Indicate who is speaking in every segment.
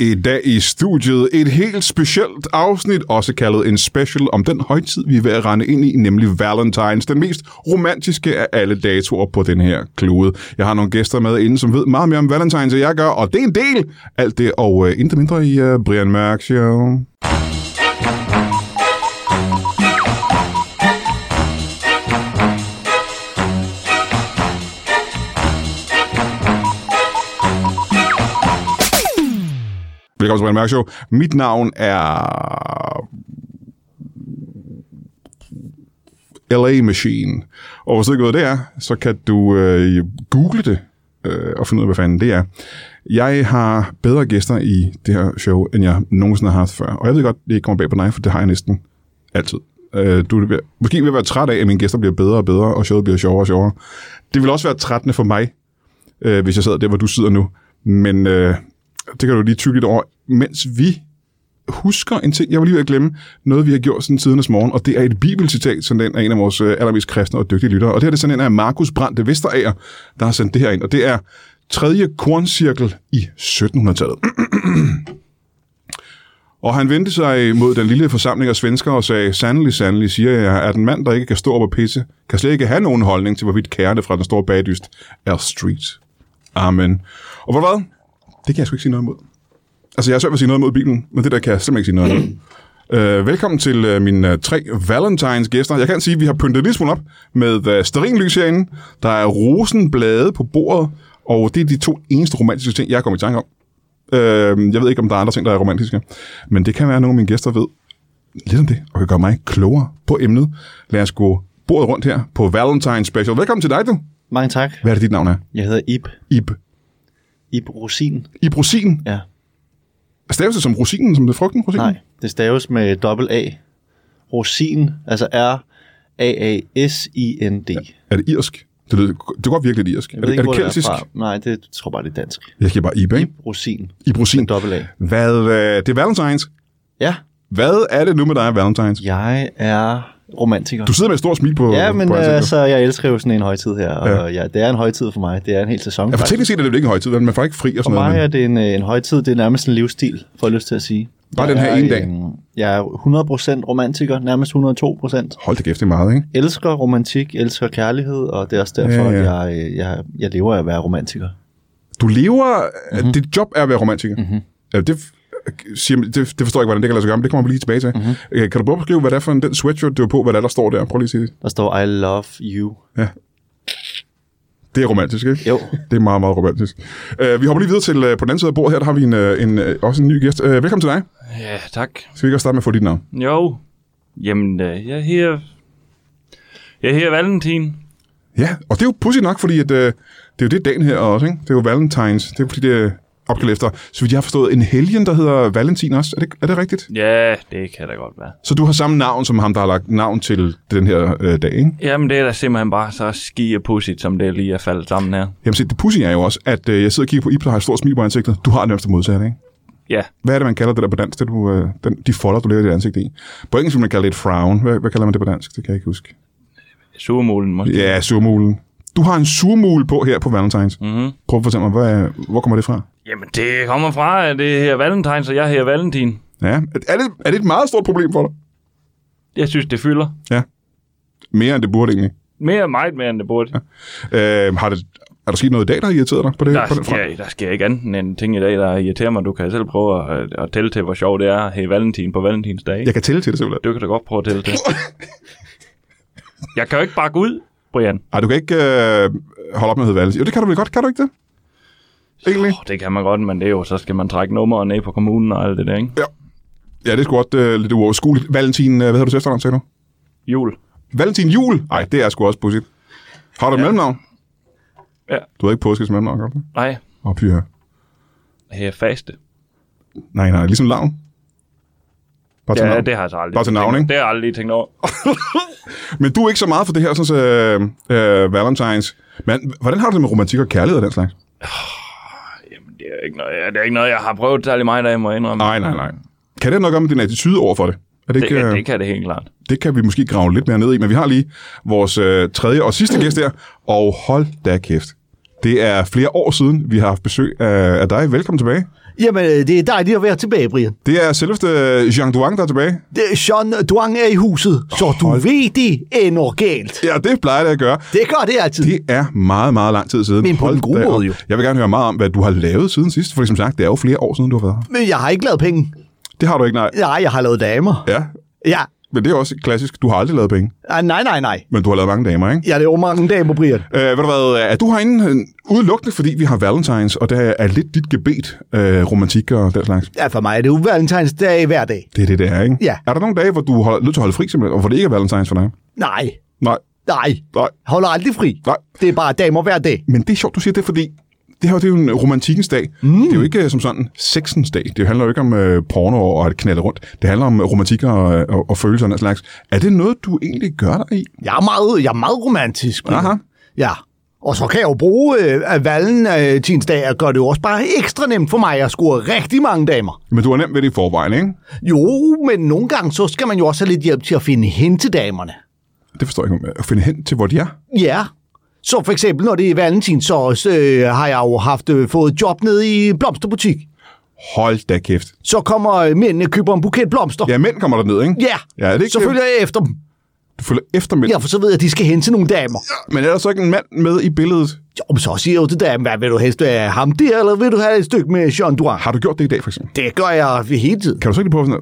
Speaker 1: I dag i studiet et helt specielt afsnit, også kaldet en special om den højtid, vi er ved at rende ind i, nemlig Valentines, den mest romantiske af alle datoer på den her klode. Jeg har nogle gæster med inden, som ved meget mere om Valentines, end jeg gør, og det er en del alt det, og øh, intet mindre i øh, Brian Mørk Show. Velkommen til Brian Mørk Show. Mit navn er... LA Machine. Og hvis du ikke ved, hvad det er, så kan du øh, google det øh, og finde ud af, hvad fanden det er. Jeg har bedre gæster i det her show, end jeg nogensinde har haft før. Og jeg ved godt, det ikke kommer bag på dig, for det har jeg næsten altid. Øh, du er ved, måske vil være træt af, at mine gæster bliver bedre og bedre, og showet bliver sjovere og sjovere. Det vil også være trættende for mig, øh, hvis jeg sad der, hvor du sidder nu. Men øh, det kan du lige tykke lidt over, mens vi husker en ting, jeg var lige ved at glemme, noget vi har gjort siden tidernes morgen, og det er et bibelcitat, som den er en af vores øh, allermest kristne og dygtige lyttere. Og det her det er sådan en af Markus Brandte Vesterager, der har sendt det her ind, og det er tredje korncirkel i 1700-tallet. Og han vendte sig mod den lille forsamling af svenskere og sagde, sandelig, sandelig, siger jeg, at en mand, der ikke kan stå op og pisse, kan slet ikke have nogen holdning til, hvorvidt kærne fra den store bagdyst er street. Amen. Og ved du hvad? Det kan jeg sgu ikke sige noget imod. Altså, jeg har svært ved at sige noget imod Bibelen, men det der kan jeg simpelthen ikke sige noget imod. Øh, velkommen til øh, mine øh, tre Valentines gæster. Jeg kan sige, at vi har pyntet lidt smule op med øh, sterinlys herinde. Der er rosenblade på bordet, og det er de to eneste romantiske ting, jeg er kommet i tanke om. Øh, jeg ved ikke, om der er andre ting, der er romantiske, men det kan være, at nogle af mine gæster ved lidt om det, og kan gøre mig klogere på emnet. Lad os gå bordet rundt her på Valentine Special. Velkommen til dig, du.
Speaker 2: Mange tak.
Speaker 1: Hvad er det, dit navn er?
Speaker 2: Jeg hedder Ib.
Speaker 1: Ib.
Speaker 2: Ib Rosin.
Speaker 1: Ib Rosin.
Speaker 2: Ja.
Speaker 1: Staves det som rosinen, som det er frugten? Rosinen?
Speaker 2: Nej, det staves med dobbelt A. Rosin, altså R-A-A-S-I-N-D. Ja.
Speaker 1: Er det irsk? Det, lyder, det går virkelig lidt irsk. Er
Speaker 2: Jeg ved
Speaker 1: det,
Speaker 2: ikke,
Speaker 1: er det
Speaker 2: hvor det
Speaker 1: keltisk?
Speaker 2: er fra. Nej, det jeg tror bare, det er dansk.
Speaker 1: Jeg skal bare Ibe, ikke?
Speaker 2: Rosin.
Speaker 1: Ibrosin.
Speaker 2: Dobbelt A.
Speaker 1: Hvad, øh, det er Valentines.
Speaker 2: Ja,
Speaker 1: Hvad er det nu med dig, Valentines?
Speaker 2: jeg er romantiker.
Speaker 1: Du sidder med et stort smil på
Speaker 2: ja, men
Speaker 1: på ansigtet.
Speaker 2: altså, jeg elsker jo sådan en højtid her, og ja. ja, det er en højtid for mig. Det er en hel sæson.
Speaker 1: Ja, for
Speaker 2: faktisk.
Speaker 1: teknisk set er det jo ikke en højtid, vel? man får ikke fri og
Speaker 2: For
Speaker 1: sådan noget.
Speaker 2: mig
Speaker 1: Men
Speaker 2: er det en, øh, en højtid, det er nærmest en livsstil, får jeg lyst til at sige.
Speaker 1: Bare
Speaker 2: Jeg
Speaker 1: den her
Speaker 2: er,
Speaker 1: ene dag.
Speaker 2: øhm, Jeg er 100% romantiker, nærmest 102%.
Speaker 1: hold da kæft, det er meget, ikke?
Speaker 2: elsker romantik, elsker kærlighed, og det er også
Speaker 1: Ja,
Speaker 2: derfor, ja,
Speaker 1: ja.
Speaker 2: ja. at jeg, øh, jeg, jeg lever af at være romantiker.
Speaker 1: Du lever...
Speaker 2: Mhm.
Speaker 1: Mm-hmm. Dit job er at være romantiker. Mm-hmm. Ja, det, f- siger, det, det forstår jeg ikke, hvordan det kan lade sig gøre, men det kommer vi lige tilbage til.
Speaker 2: Mhm.
Speaker 1: Mm-hmm. Kan du prøve at beskrive, hvad det er for en den sweatshirt, du har på, hvad det er, der står der? Prøv lige at sige det.
Speaker 2: Der står, I love you.
Speaker 1: Det er romantisk, ikke?
Speaker 2: Jo.
Speaker 1: Det er meget, meget romantisk. Uh, vi hopper lige videre til uh, på den anden side af bordet. Her der har vi en, uh, en, uh, også en ny gæst. Uh, velkommen til dig.
Speaker 3: Ja, tak.
Speaker 1: Skal vi ikke også starte med at få dit navn?
Speaker 3: Jo. Jamen, øh, jeg her... Jeg her Valentin.
Speaker 1: Ja, og det er jo pudsigt nok, fordi at, øh, det er jo det dagen her også, ikke? Det er jo Valentines. Det er jo fordi, det er opkaldt efter, så vidt jeg har forstået, en helgen, der hedder Valentin også. Er det, er det rigtigt?
Speaker 3: Ja, det kan da godt være.
Speaker 1: Så du har samme navn som ham, der har lagt navn til den her øh, dag, ikke?
Speaker 3: Jamen, det er da simpelthen bare så ski og pudsigt, som det lige er faldet sammen her.
Speaker 1: Jamen se, det pudsige er jo også, at øh, jeg sidder og kigger på Ibsen og har et stort smil på ansigtet. Du har det nærmest modsat, ikke?
Speaker 3: Ja,
Speaker 1: Hvad er det, man kalder det der på dansk, det du, øh, den, de folder, du lægger dit ansigt i? På engelsk vil man kalde det et frown. Hvad, hvad kalder man det på dansk? Det kan jeg ikke huske.
Speaker 3: surmulen måske.
Speaker 1: Ja, surmulen. Du har en surmul på her på Valentines.
Speaker 3: Mm-hmm.
Speaker 1: Prøv at fortælle mig, hvad, hvor kommer det fra?
Speaker 3: Jamen, det kommer fra, at det her Valentins, og jeg her Valentin.
Speaker 1: Ja. Er det, er det et meget stort problem for dig?
Speaker 3: Jeg synes, det fylder.
Speaker 1: Mere end det burde egentlig.
Speaker 3: Mere meget mere, end det burde. Ja,
Speaker 1: Øh, har det, er der sket noget i dag, der har irriteret dig på det? på
Speaker 3: der,
Speaker 1: den front?
Speaker 3: sker, der sker ikke andet end ting i dag, der irriterer mig. Du kan selv prøve at, at tælle til, hvor sjovt det er her Valentin på Valentinsdag. ikke?
Speaker 1: Jeg kan tælle til det simpelthen.
Speaker 3: Du kan da godt prøve at tælle til. jeg kan jo ikke bare gå ud, Brian.
Speaker 1: Ej, du kan ikke øh, holde op med at hedde Valentin. Jo, det kan du vel godt, kan du ikke det? Egentlig?
Speaker 3: Oh, det kan man godt, men det er jo, så skal man trække nummeret ned på kommunen og alt det der, ikke?
Speaker 1: Ja, det er sgu også øh, lidt uoverskueligt. Valentin, øh, hvad hedder du til efternavn, sagde du?
Speaker 3: Jul.
Speaker 1: Valentin Jul? Nej, det er sgu også pudsigt. Har du et ja. mellemnavn?
Speaker 3: Ja.
Speaker 1: Du har ikke påskets mellemnavn, gør du det?
Speaker 3: Nej,
Speaker 1: Åh, oh, pyha.
Speaker 3: her faste.
Speaker 1: Nej, nej, ligesom lavn. Bare til
Speaker 3: Ja,
Speaker 1: navn.
Speaker 3: det har jeg så aldrig.
Speaker 1: Bare til navn,
Speaker 3: tænkt-
Speaker 1: ikke?
Speaker 3: Det har jeg aldrig tænkt over.
Speaker 1: Men du er ikke så meget for det her, sådan øh, øh, Valentines. Men hvordan har du det med romantik og kærlighed og den slags?
Speaker 3: Jamen, det er ikke noget, ja, det er ikke noget jeg har prøvet særlig meget af, må jeg indrømme.
Speaker 1: Nej, nej, nej. Kan det nok gøre med din attitude over for det? Er det,
Speaker 3: Det,
Speaker 1: ikke,
Speaker 3: kan,
Speaker 1: øh,
Speaker 3: det kan det helt klart.
Speaker 1: det kan vi måske grave lidt mere ned i, men vi har lige vores øh, tredje og sidste gæst her, og hold da kæft. Det er flere år siden, vi har haft besøg af, af dig. Velkommen tilbage.
Speaker 4: Jamen, øh, det er dejligt at være tilbage, Brian.
Speaker 1: Det er selveste Jean Duang, der er tilbage.
Speaker 4: Det, Jean Duang er i huset, så du ved det ender galt.
Speaker 1: Ja, det plejer det at gøre.
Speaker 4: Det gør det altid.
Speaker 1: Det er meget, meget lang tid siden.
Speaker 4: Men på
Speaker 1: Hold
Speaker 4: en god
Speaker 1: da op.
Speaker 4: måde jo.
Speaker 1: Jeg vil gerne høre meget om, hvad du har lavet siden sidst. For som sagt, det er jo flere år siden, du har været her.
Speaker 4: Men jeg har ikke lavet penge.
Speaker 1: Det har du ikke, nej.
Speaker 4: Nej, jeg har lavet damer.
Speaker 1: Ja,
Speaker 4: Ja.
Speaker 1: men det er også klassisk. Du har aldrig lavet penge,
Speaker 4: Ah, Nej, nej, nej.
Speaker 1: men du har lavet mange damer, ikke?
Speaker 4: Jeg laver mange damer, Brian.
Speaker 1: Øh, ved du hvad, er du herinde øh, udelukkende, fordi vi har Valentines, og der er lidt dit gebet, øh, romantik og den slags?
Speaker 4: Ja, for mig er det jo valentinsdag hver dag.
Speaker 1: Det er det, det er, ikke?
Speaker 4: Ja.
Speaker 1: Er der nogle dage, hvor du holder, nødt til at holde fri simpelthen, og hvor det ikke er Valentines for dig?
Speaker 4: Nej,
Speaker 1: Nej,
Speaker 4: nej.
Speaker 1: nej,
Speaker 4: Holder aldrig fri.
Speaker 1: nej.
Speaker 4: Det er bare damer hver dag.
Speaker 1: Men det er sjovt, du siger det, fordi det her det er jo en romantikkens dag. Mm. Det er jo ikke øh, som sådan sexens dag. Det handler jo ikke om øh, porno og at knalde rundt. Det handler om øh, romantikker og, og, og følelser og den slags. Er det noget, du egentlig gør dig i?
Speaker 4: Jeg er meget, jeg er meget romantisk. Brian.
Speaker 1: Aha.
Speaker 4: Ja. Og så kan jeg jo bruge øh, valentinsdag, og gør det jo også bare ekstra nemt for mig at score rigtig mange damer.
Speaker 1: Men du har nemt ved det i forvejen, ikke?
Speaker 4: Jo, men nogle gange, så skal man jo også have lidt hjælp til at finde hen til damerne.
Speaker 1: Det forstår jeg ikke. At finde hen til, hvor de er.
Speaker 4: Ja. Så for eksempel, når det er valentin, så også, øh, har jeg jo haft øh, fået job nede i blomsterbutik.
Speaker 1: Hold da kæft.
Speaker 4: Så kommer øh, mændene og køber en buket blomster.
Speaker 1: Ja, mænd kommer der ned, ikke?
Speaker 4: Ja,
Speaker 1: Ja, er det ikke
Speaker 4: så følger jeg efter dem.
Speaker 1: Du følger efter mænd.
Speaker 4: Ja, for så ved jeg, at de skal hen til nogle damer.
Speaker 1: Men er der så ikke en mand med i billedet?
Speaker 4: Jo, men så siger jeg jo til damen, hvad vil du helst have ham der, eller vil du have et stykke med Jean Duan?
Speaker 1: Har du gjort det i dag, for eksempel?
Speaker 4: Det gør jeg ved hele tiden.
Speaker 1: Kan du så ikke lige prøve sådan,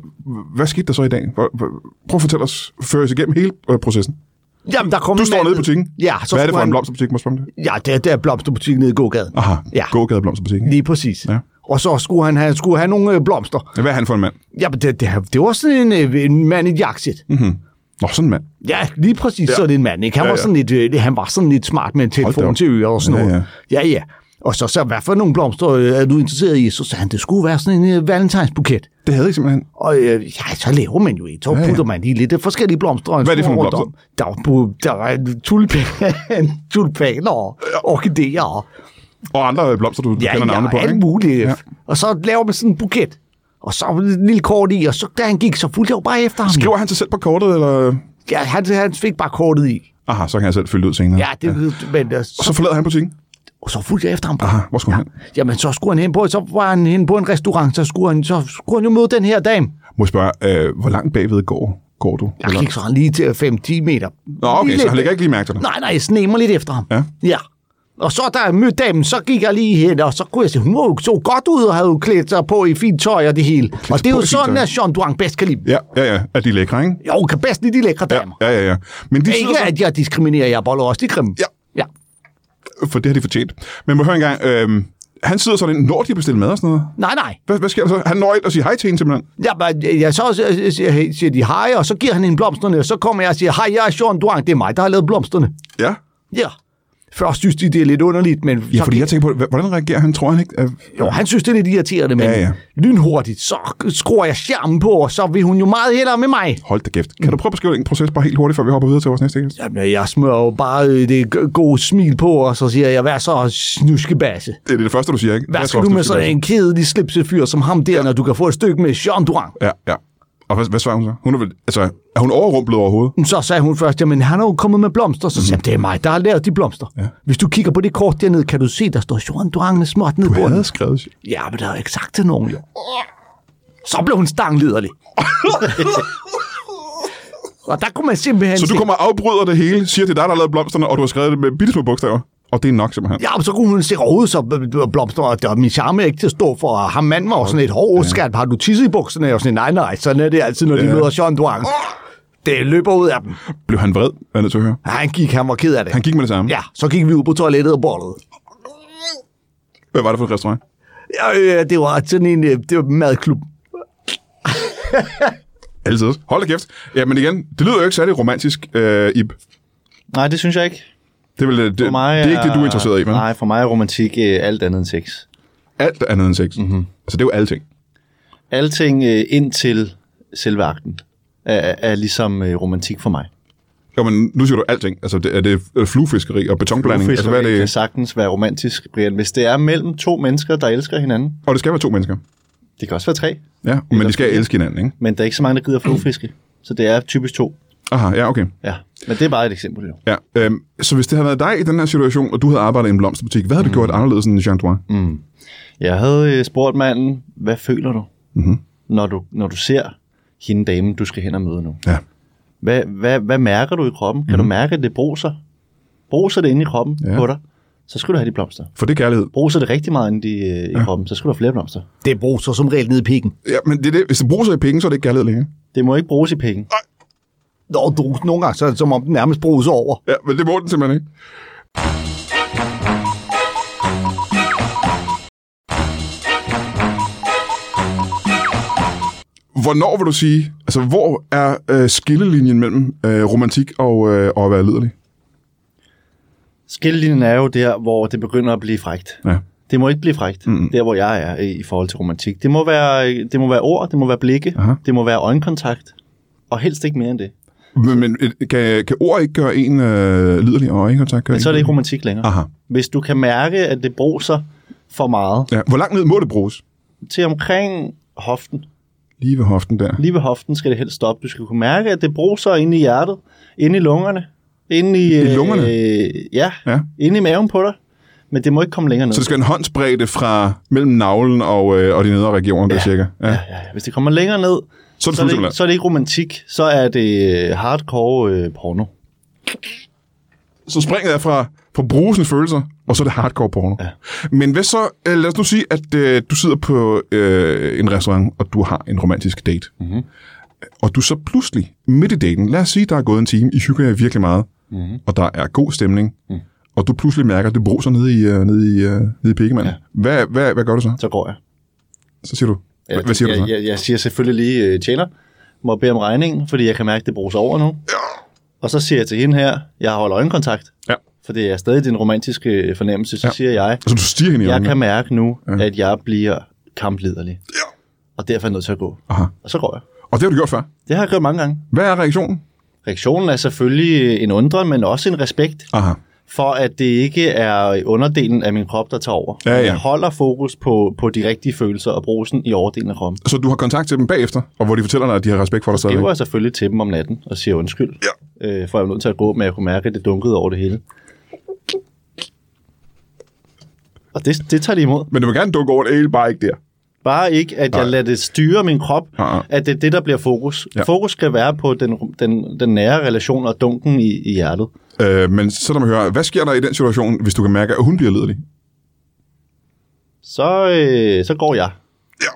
Speaker 1: hvad skete der så i dag? Hvor- hvor- Prøv at fortælle os, før os igennem hele øh, processen.
Speaker 4: Jamen, der kommer
Speaker 1: Du
Speaker 4: en
Speaker 1: står
Speaker 4: mand-
Speaker 1: nede i butikken.
Speaker 4: Ja, så
Speaker 1: hvad er det
Speaker 4: skulle
Speaker 1: for en
Speaker 4: han-
Speaker 1: blomsterbutik, må jeg spørge om det?
Speaker 4: Ja, det er der er blomsterbutik nede i gågaden.
Speaker 1: Aha,
Speaker 4: Ja.
Speaker 1: gågade blomsterbutik.
Speaker 4: Lige præcis.
Speaker 1: Ja.
Speaker 4: Og så skulle han have, skulle have nogle øh, blomster.
Speaker 1: Hvad er han for en mand?
Speaker 4: Jamen, det, det, det var sådan en, øh, en mand i et jakkesæt. Mm.
Speaker 1: Nå, sådan en mand.
Speaker 4: Ja, lige præcis ja. sådan en mand. Ikke? Han,
Speaker 1: Ja,
Speaker 4: ja, ja. Var
Speaker 1: ja.
Speaker 4: sådan lidt, øh, han var sådan lidt smart med en
Speaker 1: da
Speaker 4: telefon
Speaker 1: op.
Speaker 4: til øret og sådan
Speaker 1: Ja,
Speaker 4: noget. Ja, ja. ja. Og så, så hvad for nogle blomster øh, er du interesseret i? Så sagde han, det skulle være sådan en øh, valentinsbuket.
Speaker 1: Det havde jeg simpelthen.
Speaker 4: Og øh, ja, så laver man jo et. Så
Speaker 1: ja.
Speaker 4: putter man lige lidt af forskellige blomster. og en
Speaker 1: Hvad er det for
Speaker 4: snor
Speaker 1: nogle
Speaker 4: rundt om. Der, er- der er tulpan, tulpaner og orkideer. og-
Speaker 1: Og andre øh, blomster, du du
Speaker 4: Ja,
Speaker 1: kender
Speaker 4: ja,
Speaker 1: navne på,
Speaker 4: alt
Speaker 1: ikke?
Speaker 4: muligt.
Speaker 1: Ja.
Speaker 4: Ja. Og så laver man sådan en buket. Og så en lille kort i, og så da han gik, så fulgte jeg jo bare efter ham.
Speaker 1: Skriver han sig selv på kortet, eller...
Speaker 4: Ja, han, han fik bare kortet i.
Speaker 1: Aha, så kan jeg selv fylde det ud senere.
Speaker 4: Ja, det, ja. Men, øh,
Speaker 1: Og
Speaker 4: så,
Speaker 1: så forlader han butikken.
Speaker 4: og så fulgte jeg efter ham.
Speaker 1: Aha, hvor skulle han?
Speaker 4: Jamen, så skulle han hen på, så var han hen på en restaurant, så skulle han, så skulle han jo møde den her dame.
Speaker 1: Må jeg spørge, øh, hvor langt bagved går, går du?
Speaker 4: Jeg gik så han lige til 5-10 meter.
Speaker 1: Nå, okay,
Speaker 4: Lige
Speaker 1: så
Speaker 4: lidt-
Speaker 1: han lægger ikke lige mærke til dig.
Speaker 4: Nej, nej, jeg snemmer lidt efter ham.
Speaker 1: Ja.
Speaker 4: ja. Og så da jeg mødte damen, så gik jeg lige hen, og så kunne jeg se, hun var jo- så godt ud og havde jo klædt sig på i fint tøj og det hele. og det er
Speaker 1: på
Speaker 4: jo
Speaker 1: i fint
Speaker 4: sådan,
Speaker 1: tøj.
Speaker 4: at Jean Duang bedst kan lide.
Speaker 1: Ja, ja, ja. Er de lækre, ikke?
Speaker 4: Jo, kan bedst lide de lækre
Speaker 1: Ja,
Speaker 4: damer.
Speaker 1: ja, ja. ja. Men de
Speaker 4: Ja.
Speaker 1: sidder
Speaker 4: Ikke
Speaker 1: så,
Speaker 4: at jeg diskriminerer, jeg boller også de grimme.
Speaker 1: Ja.
Speaker 4: ja.
Speaker 1: for det har de fortjent. Men må jeg høre engang, øh, han sidder sådan, når de bestiller mad og sådan noget.
Speaker 4: Nej, nej.
Speaker 1: Hvad, hvad sker der så? Han når ind og siger hej til hende simpelthen.
Speaker 4: Ja, men jeg så øh, siger, siger, siger de hej, og så giver han en blomsterne, og så kommer jeg og siger, hej, jeg er Jean Duang, det er mig, der har lavet blomsterne.
Speaker 1: Ja.
Speaker 4: Ja. Først synes de, det er lidt underligt, men
Speaker 1: Ja,
Speaker 4: så
Speaker 1: fordi jeg tænker på, hva- hvordan reagerer han? Tror han ikke? at-
Speaker 4: Jo, han synes, det er lidt irriterende, men
Speaker 1: Ja,
Speaker 4: ja,
Speaker 1: ja.
Speaker 4: ja. lynhurtigt, så skruer jeg skærmen på, og så vil hun jo meget hellere med mig.
Speaker 1: Hold da kæft. Kan du prøve at beskrive den proces bare helt hurtigt, før vi hopper videre til vores næste gæst?
Speaker 4: Jamen, jeg smører jo bare øh, det g- gode smil på, og så siger jeg, hvad så snuskebasse?
Speaker 1: Det er det første, du siger, ikke?
Speaker 4: Hvad
Speaker 1: Jeg
Speaker 4: skal
Speaker 1: tror
Speaker 4: du
Speaker 1: også,
Speaker 4: med sådan en kedelig slipsefyr som ham der, når du kan få et stykke med Jean Durand?
Speaker 1: Ja, ja. Og hvad, hvad svarer hun så? Hun er, vel, altså, er hun overrumplet overhovedet?
Speaker 4: Så sagde hun først, jamen han er jo kommet med blomster. Så
Speaker 1: Mhm.
Speaker 4: sagde jeg, det er mig, der har lavet de blomster. Ja. Hvis du kigger på det kort dernede, kan du se, der står Jean Durand med småt ned på
Speaker 1: Hun havde
Speaker 4: bunden.
Speaker 1: skrevet sig.
Speaker 4: Ja, men det har jeg ikke sagt til nogen, jo. Så blev hun stangliderlig. og der kunne man simpelthen
Speaker 1: Så du
Speaker 4: se-
Speaker 1: kommer og afbryder det hele, siger det er dig, der har lavet blomsterne, og du har skrevet det med bitte små bogstaver. Og det er nok simpelthen.
Speaker 4: Ja, men så kunne hun se røde så bl- bl- blomster, og der var min charme ikke til at stå for. Og ham mand var jo sådan et hårdt skat. Har du tisset i bukserne? Jeg var sådan, nej, nej, sådan er det altid, når de
Speaker 1: Ja.
Speaker 4: møder Jean Duang. Det løber ud af dem.
Speaker 1: Blev han vred, er jeg nødt til at høre.
Speaker 4: Han gik, han var ked af det.
Speaker 1: Han gik med det samme.
Speaker 4: Ja, så gik vi ud på toilettet og bollede.
Speaker 1: Hvad var det for et restaurant?
Speaker 4: Ja, øh, det var sådan en øh, det var en madklub.
Speaker 1: Altid. Hold da kæft. Ja, men igen, det lyder jo ikke særlig romantisk, øh, Ib.
Speaker 2: Nej, det synes jeg ikke.
Speaker 1: Det er, vel, øh, det, det, det er ikke det, du er interesseret i, vel?
Speaker 2: Nej, for mig er romantik øh, alt andet end sex.
Speaker 1: Alt andet end sex. Mm-hmm. Altså, det er jo alting.
Speaker 2: Alting øh, indtil selve akten er, er, er ligesom øh, romantik for mig.
Speaker 1: Jo, men nu siger du alting. Altså, det, er det øh, fluefiskeri og betonblanding? Altså, hvad er
Speaker 2: kan
Speaker 1: det?
Speaker 2: sagtens være romantisk, Brian, hvis det er mellem to mennesker, der elsker hinanden.
Speaker 1: Og det skal være to mennesker.
Speaker 2: Det kan også være tre,
Speaker 1: Ja, men de skal elske hinanden, ikke?
Speaker 2: men der er ikke så mange, der gider fluefiske. Så det er typisk to.
Speaker 1: Aha, ja, okay.
Speaker 2: Ja, men det er bare et eksempel jo.
Speaker 1: Ja. Øhm, så hvis det havde været dig i den her situation, og du havde arbejdet i en blomsterbutik, hvad havde du gjort anderledes end Jean Drouin? Mhm. Mm.
Speaker 2: Jeg havde øh, spurgt manden, hvad føler du, mm-hmm. når du, når du ser hende dame, du skal hen og møde nu?
Speaker 1: Ja.
Speaker 2: Hvad, hvad, hvad mærker du i kroppen? Kan mm-hmm. du mærke, at det bruser? Bruser det inde i kroppen
Speaker 1: Ja.
Speaker 2: ja. på dig? Så skal du have de blomster.
Speaker 1: For det er kærlighed.
Speaker 2: Bruser det rigtig meget inde i, øh, i ja. kroppen, så skal du have flere blomster.
Speaker 4: Det bruser som regel ned i pikken.
Speaker 1: Ja, men det er det. hvis det bruger sig i penge, så er det ikke kærlighed længere.
Speaker 2: Det må ikke bruges i penge.
Speaker 4: Nå, du, nogle gange så er det som om, den nærmest bruser over.
Speaker 1: Ja, men det må den simpelthen ikke. Hvornår vil du sige, altså hvor er øh, skillelinjen mellem øh, romantik og, øh, og at være liderlig?
Speaker 2: Skillelinjen er jo der, hvor det begynder at blive frægt.
Speaker 1: Ja.
Speaker 2: Det må ikke blive frægt, mm. der hvor jeg er i i forhold til romantik. Det må være, øh, det må være ord, det må være blikke,
Speaker 1: Aha.
Speaker 2: det må være øjenkontakt, og helst ikke mere end det.
Speaker 1: Men, men øh, kan, kan ord ikke gøre en øh, liderlig og ikke kontakt gøre
Speaker 2: Men
Speaker 1: en-
Speaker 2: så er det ikke romantik længere.
Speaker 1: Aha.
Speaker 2: Hvis du kan mærke, at det bruser for meget,
Speaker 1: Ja. Hvor langt ned må det bruges?
Speaker 2: til omkring hoften,
Speaker 1: Lige ved hoften der.
Speaker 2: lige ved hoften skal det helst stoppe. Du skal kunne mærke, at det bruser inde i hjertet, inde i lungerne, inde i...
Speaker 1: I lungerne?
Speaker 2: Øh, ja,
Speaker 1: Ja.
Speaker 2: ja, inde i maven på dig. Men det må ikke komme længere ned.
Speaker 1: Så det skal en håndsbredde fra mellem navlen og, øh, og de nedre regioner, der cirka. Ja.
Speaker 2: Ja, ja, hvis det kommer længere ned,
Speaker 1: Så er det
Speaker 2: så er det, ikke-
Speaker 1: fuldstændig
Speaker 2: så er det ikke romantik, så er det øh, hardcore øh, porno.
Speaker 1: Så springet er fra, fra brusens følelser, og så er det hardcore porno. Ja. Men hvad så, øh, lad os nu sige, at øh, du sidder på øh, en restaurant, og du har en romantisk date. Mm-hmm.
Speaker 2: Mhm.
Speaker 1: Og du så pludselig, midt i daten, lad os sige, der er gået en time, I hygger jer virkelig meget,
Speaker 2: Mhm.
Speaker 1: mm-hmm. og der er god stemning, mm. og du pludselig mærker, at det bruser nede i, øh, nede i, øh, nede i pikkemanden. Ja. Hvad, hvad, hvad gør du så?
Speaker 2: Så går jeg.
Speaker 1: Så siger du, ja,
Speaker 2: Eller,
Speaker 1: hvad siger
Speaker 2: jeg,
Speaker 1: du så?
Speaker 2: Jeg, jeg siger selvfølgelig lige, øh, tjener, må bede om regningen, fordi jeg kan mærke, at det bruges over nu. Ja. Og så siger jeg til hende her, jeg holder øjenkontakt,
Speaker 1: Ja.
Speaker 2: for det er stadig din romantiske øh, fornemmelse, så
Speaker 1: Ja.
Speaker 2: ja. siger jeg,
Speaker 1: Altså, du stiger hende i
Speaker 2: jeg
Speaker 1: øjnene.
Speaker 2: kan mærke nu, ja. at jeg bliver kampliderlig. Ja. Og derfor er jeg nødt til at gå.
Speaker 1: Aha.
Speaker 2: Og så går jeg.
Speaker 1: Og det har du gjort før.
Speaker 2: Det har jeg gjort mange gange.
Speaker 1: Hvad er reaktionen?
Speaker 2: Reaktionen er selvfølgelig øh, en undren, men også en respekt.
Speaker 1: Aha.
Speaker 2: for at det ikke er underdelen af min krop, der tager over.
Speaker 1: Ja, ja.
Speaker 2: Jeg holder fokus på, på de rigtige følelser og brusen i overdelen af kroppen.
Speaker 1: Så du har kontakt til dem bagefter, og hvor de fortæller dig, at de har respekt for dig
Speaker 2: Det
Speaker 1: stadigvæk.
Speaker 2: var jeg selvfølgelig til dem om natten og siger undskyld, ja. øh, for jeg var nødt til at gå, men jeg kunne mærke, at det dunkede over det hele. Og det, det tager de imod.
Speaker 1: Men du vil gerne dukke over det hele, bare ikke der.
Speaker 2: Bare ikke, at jeg lader det styre min krop,
Speaker 1: Ah, ah.
Speaker 2: at det er det, der bliver fokus.
Speaker 1: Ja.
Speaker 2: Ja. Fokus skal være på den, den, den nære relation og dunken i, i hjertet.
Speaker 1: Øh, men så lad mig høre, hvad sker der i den situation, hvis du kan mærke, at hun bliver lidelig?
Speaker 2: Så, øh, så går jeg.
Speaker 1: Ja.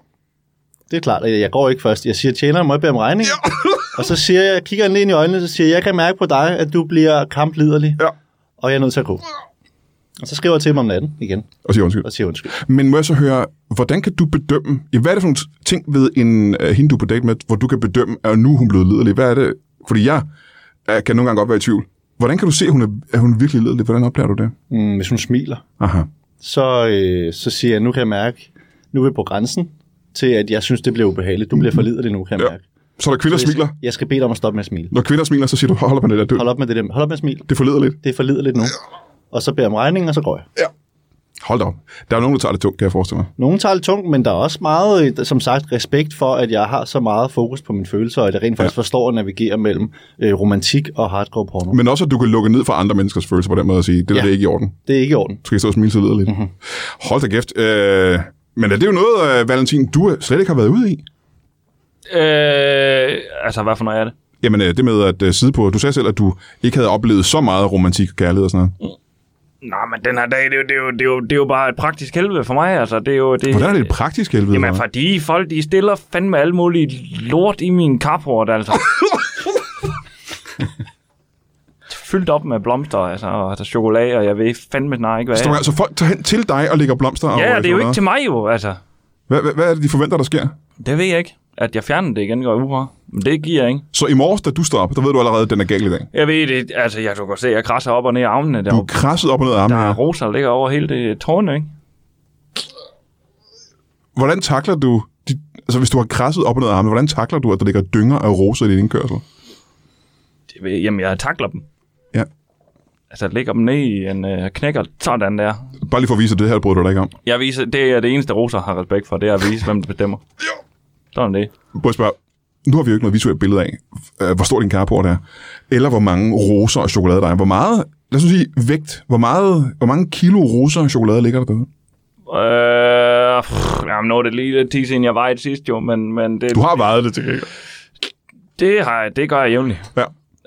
Speaker 2: Det er klart, at jeg går ikke først. Jeg siger, tjeneren, må jeg bede om regning? Ja. og så siger jeg, kigger jeg ned ind i øjnene, så siger jeg, jeg kan mærke på dig, at du bliver kampliderlig,
Speaker 1: Ja.
Speaker 2: og jeg er nødt til at gå. Og så skriver jeg til dem om natten igen,
Speaker 1: Og siger undskyld.
Speaker 2: og siger undskyld.
Speaker 1: Men må jeg så høre, hvordan kan du bedømme, ja, hvad er det for nogle ting ved en uh, hende, du er på date med, hvor du kan bedømme, at nu er hun blevet lidelig? Hvad er det? Fordi jeg uh, kan nogle gange godt være i tvivl. Hvordan kan du se, at hun er, at hun er virkelig lidelig? Hvordan oplever du det?
Speaker 2: Mm, hvis hun smiler,
Speaker 1: Aha.
Speaker 2: så, øh, så siger jeg, nu kan jeg mærke, nu er vi på grænsen til, at jeg synes, det bliver ubehageligt. Du bliver forliderlig nu, kan Mm-hmm. jeg
Speaker 1: Ja.
Speaker 2: mærke.
Speaker 1: Så der kvinder smiler.
Speaker 2: Jeg skal bede dig om at stoppe med at smile.
Speaker 1: Når kvinder smiler, så siger du, hold op med det der død.
Speaker 2: Hold op med det der. Hold op med at smile.
Speaker 1: Det forleder lidt.
Speaker 2: Det er forliderligt nu. Og så beder jeg om regningen, og så går jeg.
Speaker 1: Hold da op. Der er nogen, der tager det tungt, kan jeg forestille mig.
Speaker 2: Nogle tager det tungt, men der er også meget, øh, som sagt, respekt for, at jeg har så meget fokus på mine følelser, og at jeg rent faktisk ja. forstår at navigere mellem øh, romantik og hardcore porno.
Speaker 1: Men også, at du kan lukke ned for andre menneskers følelser på den måde og sige, det der ja.
Speaker 2: Ja.
Speaker 1: det er ikke i orden.
Speaker 2: Det er ikke i orden.
Speaker 1: Du skal ikke stå og smile så lidt.
Speaker 3: Mhm.
Speaker 1: Mm-hmm. Hold da kæft. Øh, men er det jo noget, øh, Valentin, du øh, slet ikke har været ude i?
Speaker 3: Øh, altså, hvad for noget er det?
Speaker 1: Jamen øh, det med at øh, sidde på, du sagde selv, at du ikke havde oplevet så meget romantik og kærlighed og sådan noget.
Speaker 3: Nå, men den her dag, det er jo, det er jo, det er jo, det er jo bare et praktisk helvede for mig, altså. Det er jo, det,
Speaker 1: Hvordan er det et praktisk helvede?
Speaker 3: Jamen,
Speaker 1: hva'?
Speaker 3: fordi folk, de stiller fandme alle mulige lort i min kaphort, altså. Fyldt op med blomster, altså, og altså, chokolade, og jeg ved fandme nej ikke, hvad
Speaker 1: Så, du- så folk tager hen til dig og lægger blomster? og,
Speaker 3: Ja,
Speaker 1: øh,
Speaker 3: ja, det er jo
Speaker 1: sådan
Speaker 3: ikke til mig, jo, altså.
Speaker 1: noget. Hvad, hvad, hvad er det, de forventer, der sker?
Speaker 3: Det ved jeg ikke. At jeg fjerner det igen, går jeg ud fra. Men det giver jeg ikke.
Speaker 1: Så i morges, da du står op, der ved du allerede, at den er gal i dag.
Speaker 3: Jeg ved det, altså, jeg kan godt se, at jeg krasser op og ned i armene
Speaker 1: Du er
Speaker 3: deroppe.
Speaker 1: krasset op og ned af armen.
Speaker 3: Der er roser, der ligger over hele det tårne, ikke?
Speaker 1: Hvordan takler du... De, altså, hvis du har krasset op og ned af armen, hvordan takler du, at der ligger dynger af roser i din indkørsel?
Speaker 3: Det ved, jamen, jeg takler dem.
Speaker 1: Ja.
Speaker 3: Altså, jeg lægger dem ned i en øh, knækker, sådan der.
Speaker 1: Bare lige for at vise, at det her bryder du dig ikke om.
Speaker 3: Jeg viser, det er det eneste, Roser har respekt for, det er at vise, hvem der bestemmer. Jo. Sådan er det.
Speaker 1: Prøv at spørge, nu har vi jo ikke noget visuelt billede af, øh, hvor stor din carport er, eller hvor mange roser og chokolade der er. Hvor meget, lad os nu sige vægt, hvor, meget, hvor mange kilo roser og chokolade ligger der derude?
Speaker 3: Øh, pff, jamen, nu er det lige lidt tid siden, jeg vejede sidst jo, men, men det,
Speaker 1: Du har vejet det til gengæld.
Speaker 3: det, har, jeg- det gør jeg jævnligt.
Speaker 1: Ja.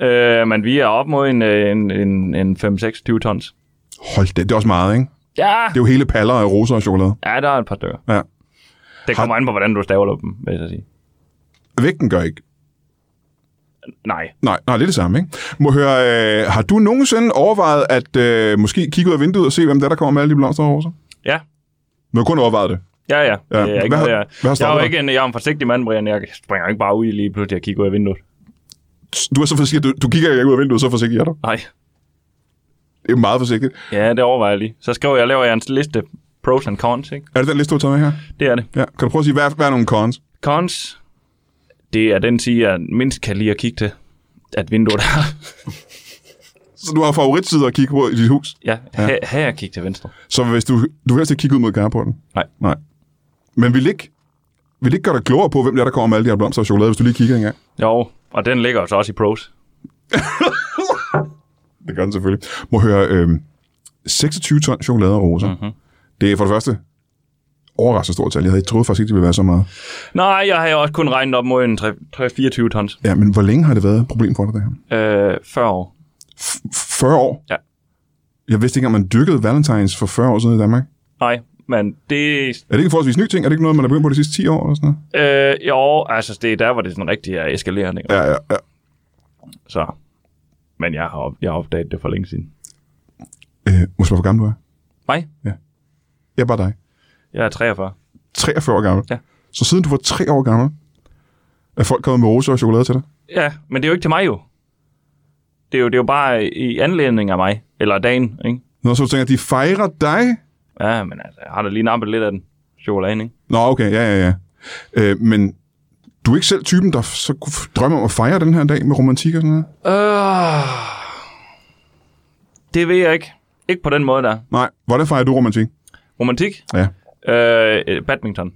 Speaker 3: Øh, men vi er op mod en, øh, en, en, en 5-26 tons.
Speaker 1: Hold da, det er også meget, ikke?
Speaker 3: Ja,
Speaker 1: Det er jo hele paller af roser og chokolade.
Speaker 3: ja der er et par stykker.
Speaker 1: Ja.
Speaker 3: Det
Speaker 1: Har-
Speaker 3: kommer an på, hvordan du staver dem, vil jeg så sige.
Speaker 1: Vægten gør ikke.
Speaker 3: Nej.
Speaker 1: Nej, nej, det er det samme, ikke? Må høre, øh, har du nogensinde overvejet at øh, måske kigge ud af vinduet og se, hvem det er, der kommer med alle de blomster og roser?
Speaker 3: Ja,
Speaker 1: Du har kun overvejet det.
Speaker 3: Ja, ja.
Speaker 1: Ja.
Speaker 3: ja. Jeg, er ikke,
Speaker 1: Hvad-
Speaker 3: noget, jeg,
Speaker 1: hvad har
Speaker 3: jeg, er
Speaker 1: stoppet
Speaker 3: jo
Speaker 1: dig?
Speaker 3: ikke en, jeg er en forsigtig mand, Brian. Jeg springer ikke bare ud i lige pludselig og kigger ud af vinduet.
Speaker 1: Du er så forsigtig, du, du kigger ikke ud af vinduet, så forsigtig er du.
Speaker 3: Nej.
Speaker 1: Det er jo meget forsigtigt.
Speaker 3: Ja, det overvejer jeg lige. Så skriver jeg, laver jeg en liste pros and cons, ikke?
Speaker 1: Er det den liste, du har taget med her?
Speaker 3: Det er det.
Speaker 1: Ja. Kan du prøve at sige, hvad, er- hvad er nogle cons?
Speaker 3: Cons, det er den sige, jeg mindst kan lide at kigge til. At vinduet er...
Speaker 1: Så du har favoritsider at kigge på i dit hus.
Speaker 3: ja, ja. her jeg kigge til venstre.
Speaker 1: Så hvis du, du vil helst ikke kigge ud mod carporten?
Speaker 3: Nej.
Speaker 1: Nej. Men vil ikke, vil ikke gøre dig klogere på, hvem det er, der kommer med alle de her blomster og chokolade, hvis du lige kigger engang?
Speaker 3: Jo, og den ligger jo så også i pros.
Speaker 1: Det gør den selvfølgelig. Må høre, øh, 26 ton chokolade og roser.
Speaker 3: Mhm.
Speaker 1: Mm-hmm. Det er for det første overraskende stort tal. Jeg havde troet faktisk ikke, det ville være så meget.
Speaker 3: Nej, jeg har jo også kun regnet op mod en 3-24 tons.
Speaker 1: Ja, men hvor længe har det været et problem for dig, det her?
Speaker 3: Øh, 40 år.
Speaker 1: F- 40 år?
Speaker 3: Ja.
Speaker 1: Jeg vidste ikke, om man dyrkede valentines for 40 år siden i Danmark.
Speaker 3: Nej, men det
Speaker 1: Er det ikke en forholdsvis ny ting? Er det ikke noget, man har begyndt på de sidste 10 år? Eller sådan noget?
Speaker 3: Øh, jo, altså det er der, hvor det sådan rigtig er eskalerende.
Speaker 1: Ja, ja, ja.
Speaker 3: Så. Men jeg har, op, jeg har opdaget det for længe siden.
Speaker 1: Øh, må jeg spørge, hvor gammel du er?
Speaker 3: Mig?
Speaker 1: Jeg er bare dig.
Speaker 3: Jeg er 43.
Speaker 1: 43 år gammel.
Speaker 3: Ja.
Speaker 1: Så siden du var 3 år gammel, er folk kommet med roser og chokolade til dig?
Speaker 3: Ja, men det er jo ikke til mig jo. Det er jo, det er jo bare i anledning af mig. Eller af dagen, ikke?
Speaker 1: Nå, så du tænker, at de fejrer dig?
Speaker 3: Ja, men altså, jeg har da lige nappet lidt af den chokoladen, ikke?
Speaker 1: Nå, okay, ja, ja, ja. Øh, men du er ikke selv typen, der så kunne f- drømme om at fejre den her dag med romantik og sådan noget?
Speaker 3: Øh, det ved jeg ikke. Ikke på den måde der.
Speaker 1: Nej, hvordan fejrer du romantik?
Speaker 3: Romantik?
Speaker 1: Ja.
Speaker 3: Øh, badminton.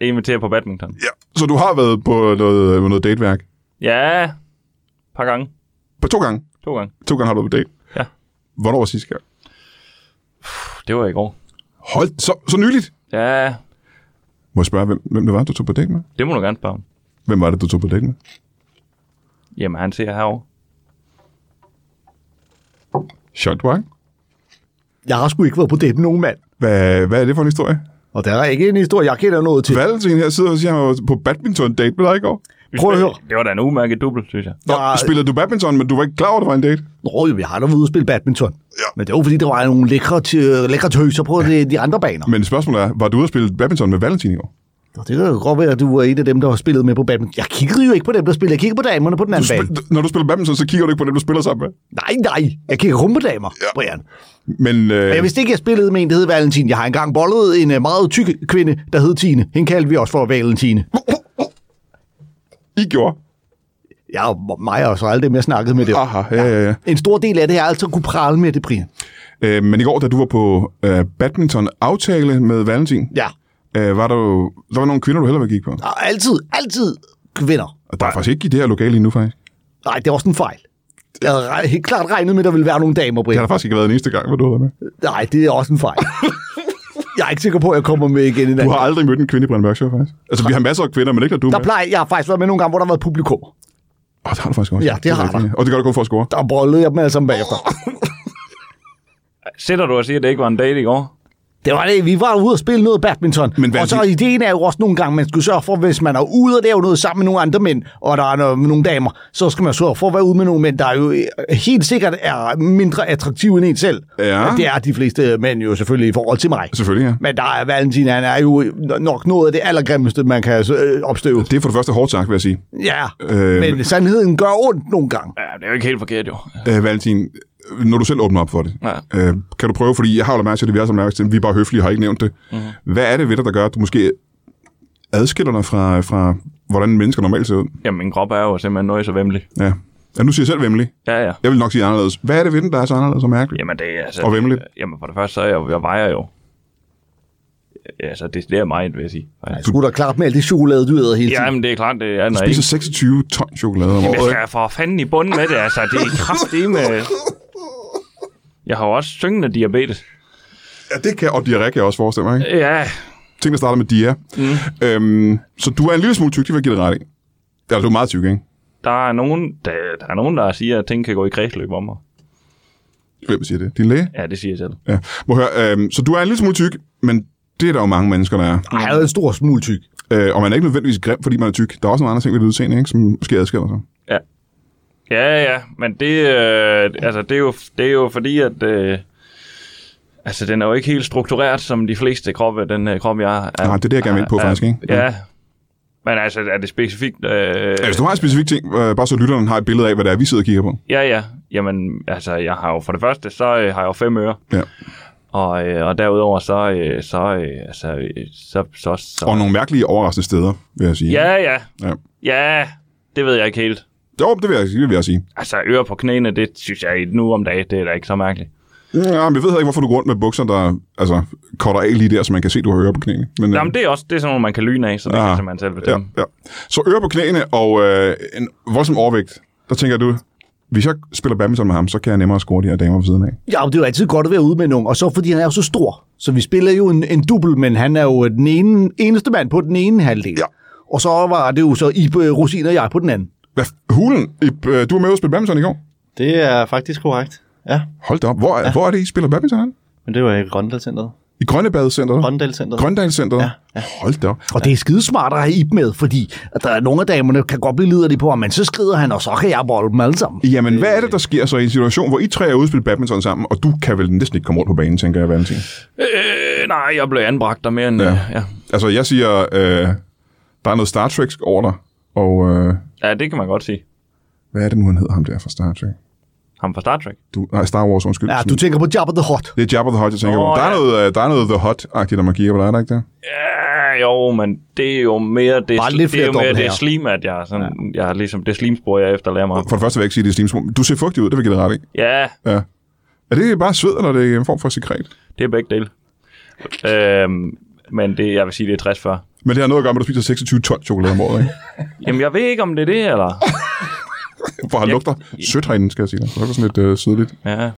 Speaker 3: Jeg inviterer på badminton.
Speaker 1: ja. Så du har været på noget, øh, noget dateværk?
Speaker 3: Ja, et par gange.
Speaker 1: På to gange?
Speaker 3: To gange.
Speaker 1: To gange har du været på date?
Speaker 3: Ja.
Speaker 1: Hvornår var sidste gang?
Speaker 3: Puh, det var i går.
Speaker 1: Hold, så, så nyligt?
Speaker 3: Ja,
Speaker 1: Må jeg spørge, hvem, hvem det var, du tog på date med?
Speaker 3: det må du gerne spørge om.
Speaker 1: Hvem var det, du tog på date med?
Speaker 3: Jamen, han ser herovre.
Speaker 1: Shot Wang.
Speaker 4: Jeg har sgu ikke været på date med nogen mand.
Speaker 1: Hvad, hvad er det for en historie?
Speaker 4: Og der er ikke en historie, jeg kender noget til.
Speaker 1: Valentin her sidder og siger, han var på badminton-date med dig i går.
Speaker 3: Vi
Speaker 4: Prøv at
Speaker 3: spiller-
Speaker 4: høre.
Speaker 3: Det var da en udmærket dubbel, synes jeg.
Speaker 1: Nå,
Speaker 4: Jeg-
Speaker 1: spillede du badminton, men du var ikke klar over, at det var en date?
Speaker 4: Nå, jo, vi har da været ude og spille badminton. Ja. Men det var fordi, der var nogle lækre, tø- lækre tøser på de, de andre baner.
Speaker 1: Men spørgsmålet er, var du ude og spille badminton med Valentin i går?
Speaker 4: Og det kan jo godt være, at du var en af dem, der har spillet med på badminton. Jeg kiggede jo ikke på dem, der spillede. Jeg kiggede på damerne på den
Speaker 1: Du
Speaker 4: anden bane.
Speaker 1: spil- når du spiller badminton, så kigger du ikke på dem, du spiller sammen med.
Speaker 4: Nej, nej. Jeg kigger kun på damer, ja. Brian.
Speaker 1: Men, øh,
Speaker 4: Men jeg vidste ikke, jeg spillede med en, der hed Valentin. Jeg har engang bollet en øh, meget tyk kvinde, der hed Tine. Hende kaldte vi også for Valentine.
Speaker 1: I gjorde.
Speaker 4: Jeg og mig og så alle dem, jeg snakkede med det.
Speaker 1: Aha, ja, ja, ja.
Speaker 4: En stor del af det er altså at kunne prale med det, Brian.
Speaker 1: Øh, men i går, da du var på øh, badminton-aftale med Valentin,
Speaker 4: Ja.
Speaker 1: øh, var der, jo, der var nogle kvinder, du hellere ville kigge på.
Speaker 4: Og altid, altid kvinder.
Speaker 1: Og der er faktisk ikke i det her lokale endnu, faktisk.
Speaker 4: Nej, det var også en fejl. Jeg havde re- helt klart regnet med, at der ville være nogle damer,
Speaker 1: Det
Speaker 4: Brian.
Speaker 1: har der faktisk ikke været en eneste gang, hvor du har været med.
Speaker 4: Nej, det er også en fejl. jeg er ikke sikker på, at jeg kommer med igen i dag.
Speaker 1: Du har aldrig mødt en kvinde i Brandmørk Show, faktisk. Altså, vi har masser af kvinder, men ikke når du er
Speaker 4: Der
Speaker 1: med.
Speaker 4: plejer, jeg har faktisk været med nogle gange, hvor der har været publikum.
Speaker 1: Åh, det har du faktisk også.
Speaker 4: Ja, det har
Speaker 1: er rigtigt. Og det gør du kun for at score.
Speaker 4: Der bollede jeg dem alle sammen bagefter.
Speaker 3: Sætter du og siger, at det ikke var en date i går?
Speaker 4: Det var det. Vi var ude og spille noget badminton.
Speaker 1: Men hvad
Speaker 4: og så
Speaker 1: er det-
Speaker 4: ideen er jo også nogle gange, man skulle sørge for, hvis man er ude og lave noget sammen med nogle andre mænd, og der er no- nogle damer, så skal man sørge for at være ude med nogle mænd, der jo øh, helt sikkert er mindre attraktive end en selv.
Speaker 1: Ja. Altså-
Speaker 4: Det er de fleste mænd jo selvfølgelig i forhold til mig.
Speaker 1: Selvfølgelig, ja.
Speaker 4: Men der er Valentin, han er jo nok noget af det allergrimmeste, man kan øh, opstøve.
Speaker 1: Det er for det første hårdt sagt, vil jeg sige.
Speaker 4: Ja,
Speaker 1: Øh,
Speaker 4: øh, men sandheden gør ondt nogle gange.
Speaker 3: Ja, det er jo ikke helt forkert, jo.
Speaker 1: Øh, Valentin, øh, når du selv åbner op for det,
Speaker 3: Ja.
Speaker 1: øh, kan du prøve, fordi jeg har jo lagt mærke til det, vi er som mærke til, vi er bare høflige, har ikke nævnt det.
Speaker 3: Mhm.
Speaker 1: Mm-hmm. Hvad er det ved dig, der gør, at du måske adskiller dig fra, fra hvordan mennesker normalt ser ud?
Speaker 3: Jamen, min krop er jo simpelthen noget så vemmelig.
Speaker 1: Ja. ja nu siger jeg selv vemmelig.
Speaker 3: Ja, ja.
Speaker 1: Jeg vil nok sige anderledes. Hvad er det ved den, der er så anderledes og mærkeligt?
Speaker 3: Jamen, det er altså...
Speaker 1: Og vemmelig.
Speaker 3: Jamen, for det første, så er jeg, jeg vejer jo altså, det, det er meget, vil jeg sige.
Speaker 4: Jeg skulle da klart med alt det chokolade, du æder hele tiden.
Speaker 3: Jamen, det er klart, det er
Speaker 1: Du
Speaker 3: når ikke. altså-
Speaker 1: spiser 26 ton chokolade om
Speaker 3: Jeg
Speaker 1: året.
Speaker 3: skal for fanden i bunden med det, altså. Det er kraftigt med... Jeg har jo også syngende diabetes.
Speaker 1: Ja, det kan, og diarré kan jeg også forestille mig. Ikke?
Speaker 3: Ja, Mhm.
Speaker 1: Ting, der starter med dia. Mm. Øhm, så du er en lille smule tyk, det vil jeg give dig ret i. Altså, du er meget tyk, ikke?
Speaker 3: der er nogen, der, der, er nogen, der siger, at ting kan gå i kredsløb om mig.
Speaker 1: Hvem siger det? Din læge?
Speaker 3: Ja, det siger jeg selv.
Speaker 1: Ja. Må jeg høre, øhm, så du er en lille smule tyk, men det er der jo mange mennesker, der er.
Speaker 4: Ej, jeg er en stor smule tyk.
Speaker 1: Øh, og man er ikke nødvendigvis grim, fordi man er tyk. Der er også nogle andre ting ved det udseende, ikke, som måske adskiller sig.
Speaker 3: Ja, ja, men det, øh, altså, det, er, jo, det er jo fordi, at... Øh, altså, den er jo ikke helt struktureret, som de fleste kroppe, den øh, krop, jeg er.
Speaker 1: Nej, det er det, jeg gerne vil ind på, faktisk, ikke?
Speaker 3: Ja. ja. Men altså, er det specifikt? Øh,
Speaker 1: Øh, Hvis du har en specifik ting, øh, bare så lytteren har et billede af, hvad det er, vi sidder og kigger på.
Speaker 3: Ja, ja. Jamen, altså, jeg har jo for det første, så øh, har jeg jo fem ører.
Speaker 1: Ja.
Speaker 3: Og, øh, og derudover, så, øh, så, øh, altså, øh, så, så, så...
Speaker 1: Og nogle mærkelige, overraskende steder, vil jeg sige.
Speaker 3: Ja, ja.
Speaker 1: Ja.
Speaker 3: Ja, det ved jeg ikke helt.
Speaker 1: Jo, det vil jeg, det vil jeg sige.
Speaker 3: Altså, ører på knæene, det synes jeg nu om dagen, det er da ikke så mærkeligt.
Speaker 1: Ja, men jeg ved heller ikke, hvorfor du går rundt med bukser, der altså, cutter af lige der, så man kan se, du har ører på knæene. Men, øh,
Speaker 3: Jamen, det er også det er sådan nogle, man kan lyne af, så det
Speaker 1: Ah.
Speaker 3: kan simpelthen selv
Speaker 1: ja,
Speaker 3: bestemme.
Speaker 1: ja. Så ører på knæene og øh, en voldsom overvægt. Der tænker du, hvis jeg spiller badminton med ham, så kan jeg nemmere score de her damer ved siden af.
Speaker 4: Ja, men det er jo altid godt at være ude med nogen, og så fordi han er jo så stor. Så vi spiller jo en, en dubbel, men han er jo den ene, eneste mand på den ene halvdel.
Speaker 1: Ja.
Speaker 4: Og så var det jo så i Rosin og jeg på den anden.
Speaker 1: Hvad f- hulen? Ip, øh, du var med ude at spille badminton i går.
Speaker 2: Det er faktisk korrekt. Ja,
Speaker 1: Hold da op. Hvor, ja. hvor er det, I spiller badminton? henne?
Speaker 2: men det var i Grøndalcenteret.
Speaker 1: I Grønnebadecenteret?
Speaker 2: Grøndalcenteret.
Speaker 1: Grøndalcenteret?
Speaker 2: Ja,
Speaker 1: ja. Hold da op.
Speaker 4: Og det er skidesmart at have Ib med, fordi at der er nogle af damerne, kan godt blive liderlige på ham, men så skrider han, og så kan jeg bolde dem alle sammen.
Speaker 1: Jamen, hvad er det, der sker så i en situation, hvor I tre er ude at spille badminton sammen, og du kan vel næsten ikke komme rundt på banen, tænker jeg, Valentin?
Speaker 3: Øh, nej, jeg blev anbragt der mere end... Ja. Ja.
Speaker 1: Altså, jeg siger, øh, der er noget Star Trek over dig, og øh,
Speaker 3: ja, det kan man godt sige.
Speaker 1: hvad er det nu, han hedder ham der fra Star Trek?
Speaker 3: Ham fra Star Trek.
Speaker 1: Du, nej, Star Wars, undskyld.
Speaker 4: Ja, du tænker på Jabba the Hot.
Speaker 1: Det er Jabba the Hutt, jeg tænker
Speaker 3: Nå,
Speaker 1: oh, på. Der, er
Speaker 3: ja.
Speaker 1: noget, øh, der er noget The Hot-agtigt, når man kigger på dig, er der ikke det?
Speaker 3: Ja, jo, men det er jo mere det,
Speaker 4: Bare lidt
Speaker 3: det, er jo
Speaker 4: flere
Speaker 3: mere det
Speaker 4: dobbelthager.
Speaker 3: slim, at jeg, er sådan, ja. jeg er ligesom det slimspor, jeg efterlader mig.
Speaker 1: For det første vil jeg ikke sige, at det er slimsrum. Du ser fugtig ud, det vil jeg give dig ret i.
Speaker 3: Ja,
Speaker 1: Ja. Er det bare sved, eller er det en form for sekret?
Speaker 3: det er begge dele. Øhm, men det, jeg vil sige, det er 60 før.
Speaker 1: Men det har noget at gøre med, at du spiser 26 ton chokolade om året, ikke?
Speaker 3: Jamen, jeg ved ikke, om det er det, eller...
Speaker 1: For han lugter sødt herinde, skal jeg sige dig. Det er sådan lidt øh, sødligt.
Speaker 3: Ja.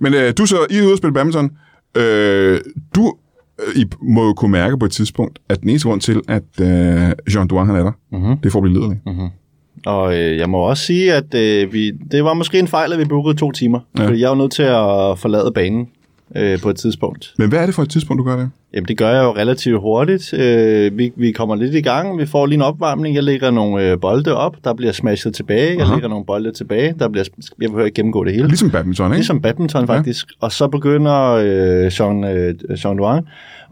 Speaker 1: Men øh, du så, I er ude at spille badminton. Øh, du øh, I må jo kunne mærke på et tidspunkt, at den eneste grund til, at øh, Jean Duan han er der, mm-hmm.
Speaker 2: Mhm.
Speaker 1: det får blive liderlig. Mm-hmm.
Speaker 2: Og øh, jeg må også sige, at øh, vi, det var måske en fejl, at vi bookede to timer. Ja. Fordi jeg var nødt til at forlade banen øh, på et tidspunkt.
Speaker 1: Men hvad er det for et tidspunkt, du gør det?
Speaker 2: Jamen, det gør jeg jo relativt hurtigt. Øh, vi, vi kommer lidt i gang. Vi får lige en opvarmning. Jeg lægger nogle øh, bolde op. Der bliver smashet tilbage. Jeg
Speaker 1: Aha.
Speaker 2: lægger nogle bolde tilbage. Der bliver, jeg behøver ikke gennemgå det hele.
Speaker 1: Ligesom badminton, ikke?
Speaker 2: Ligesom badminton faktisk. Ja. Og så begynder øh, Jean, øh, Jean Duan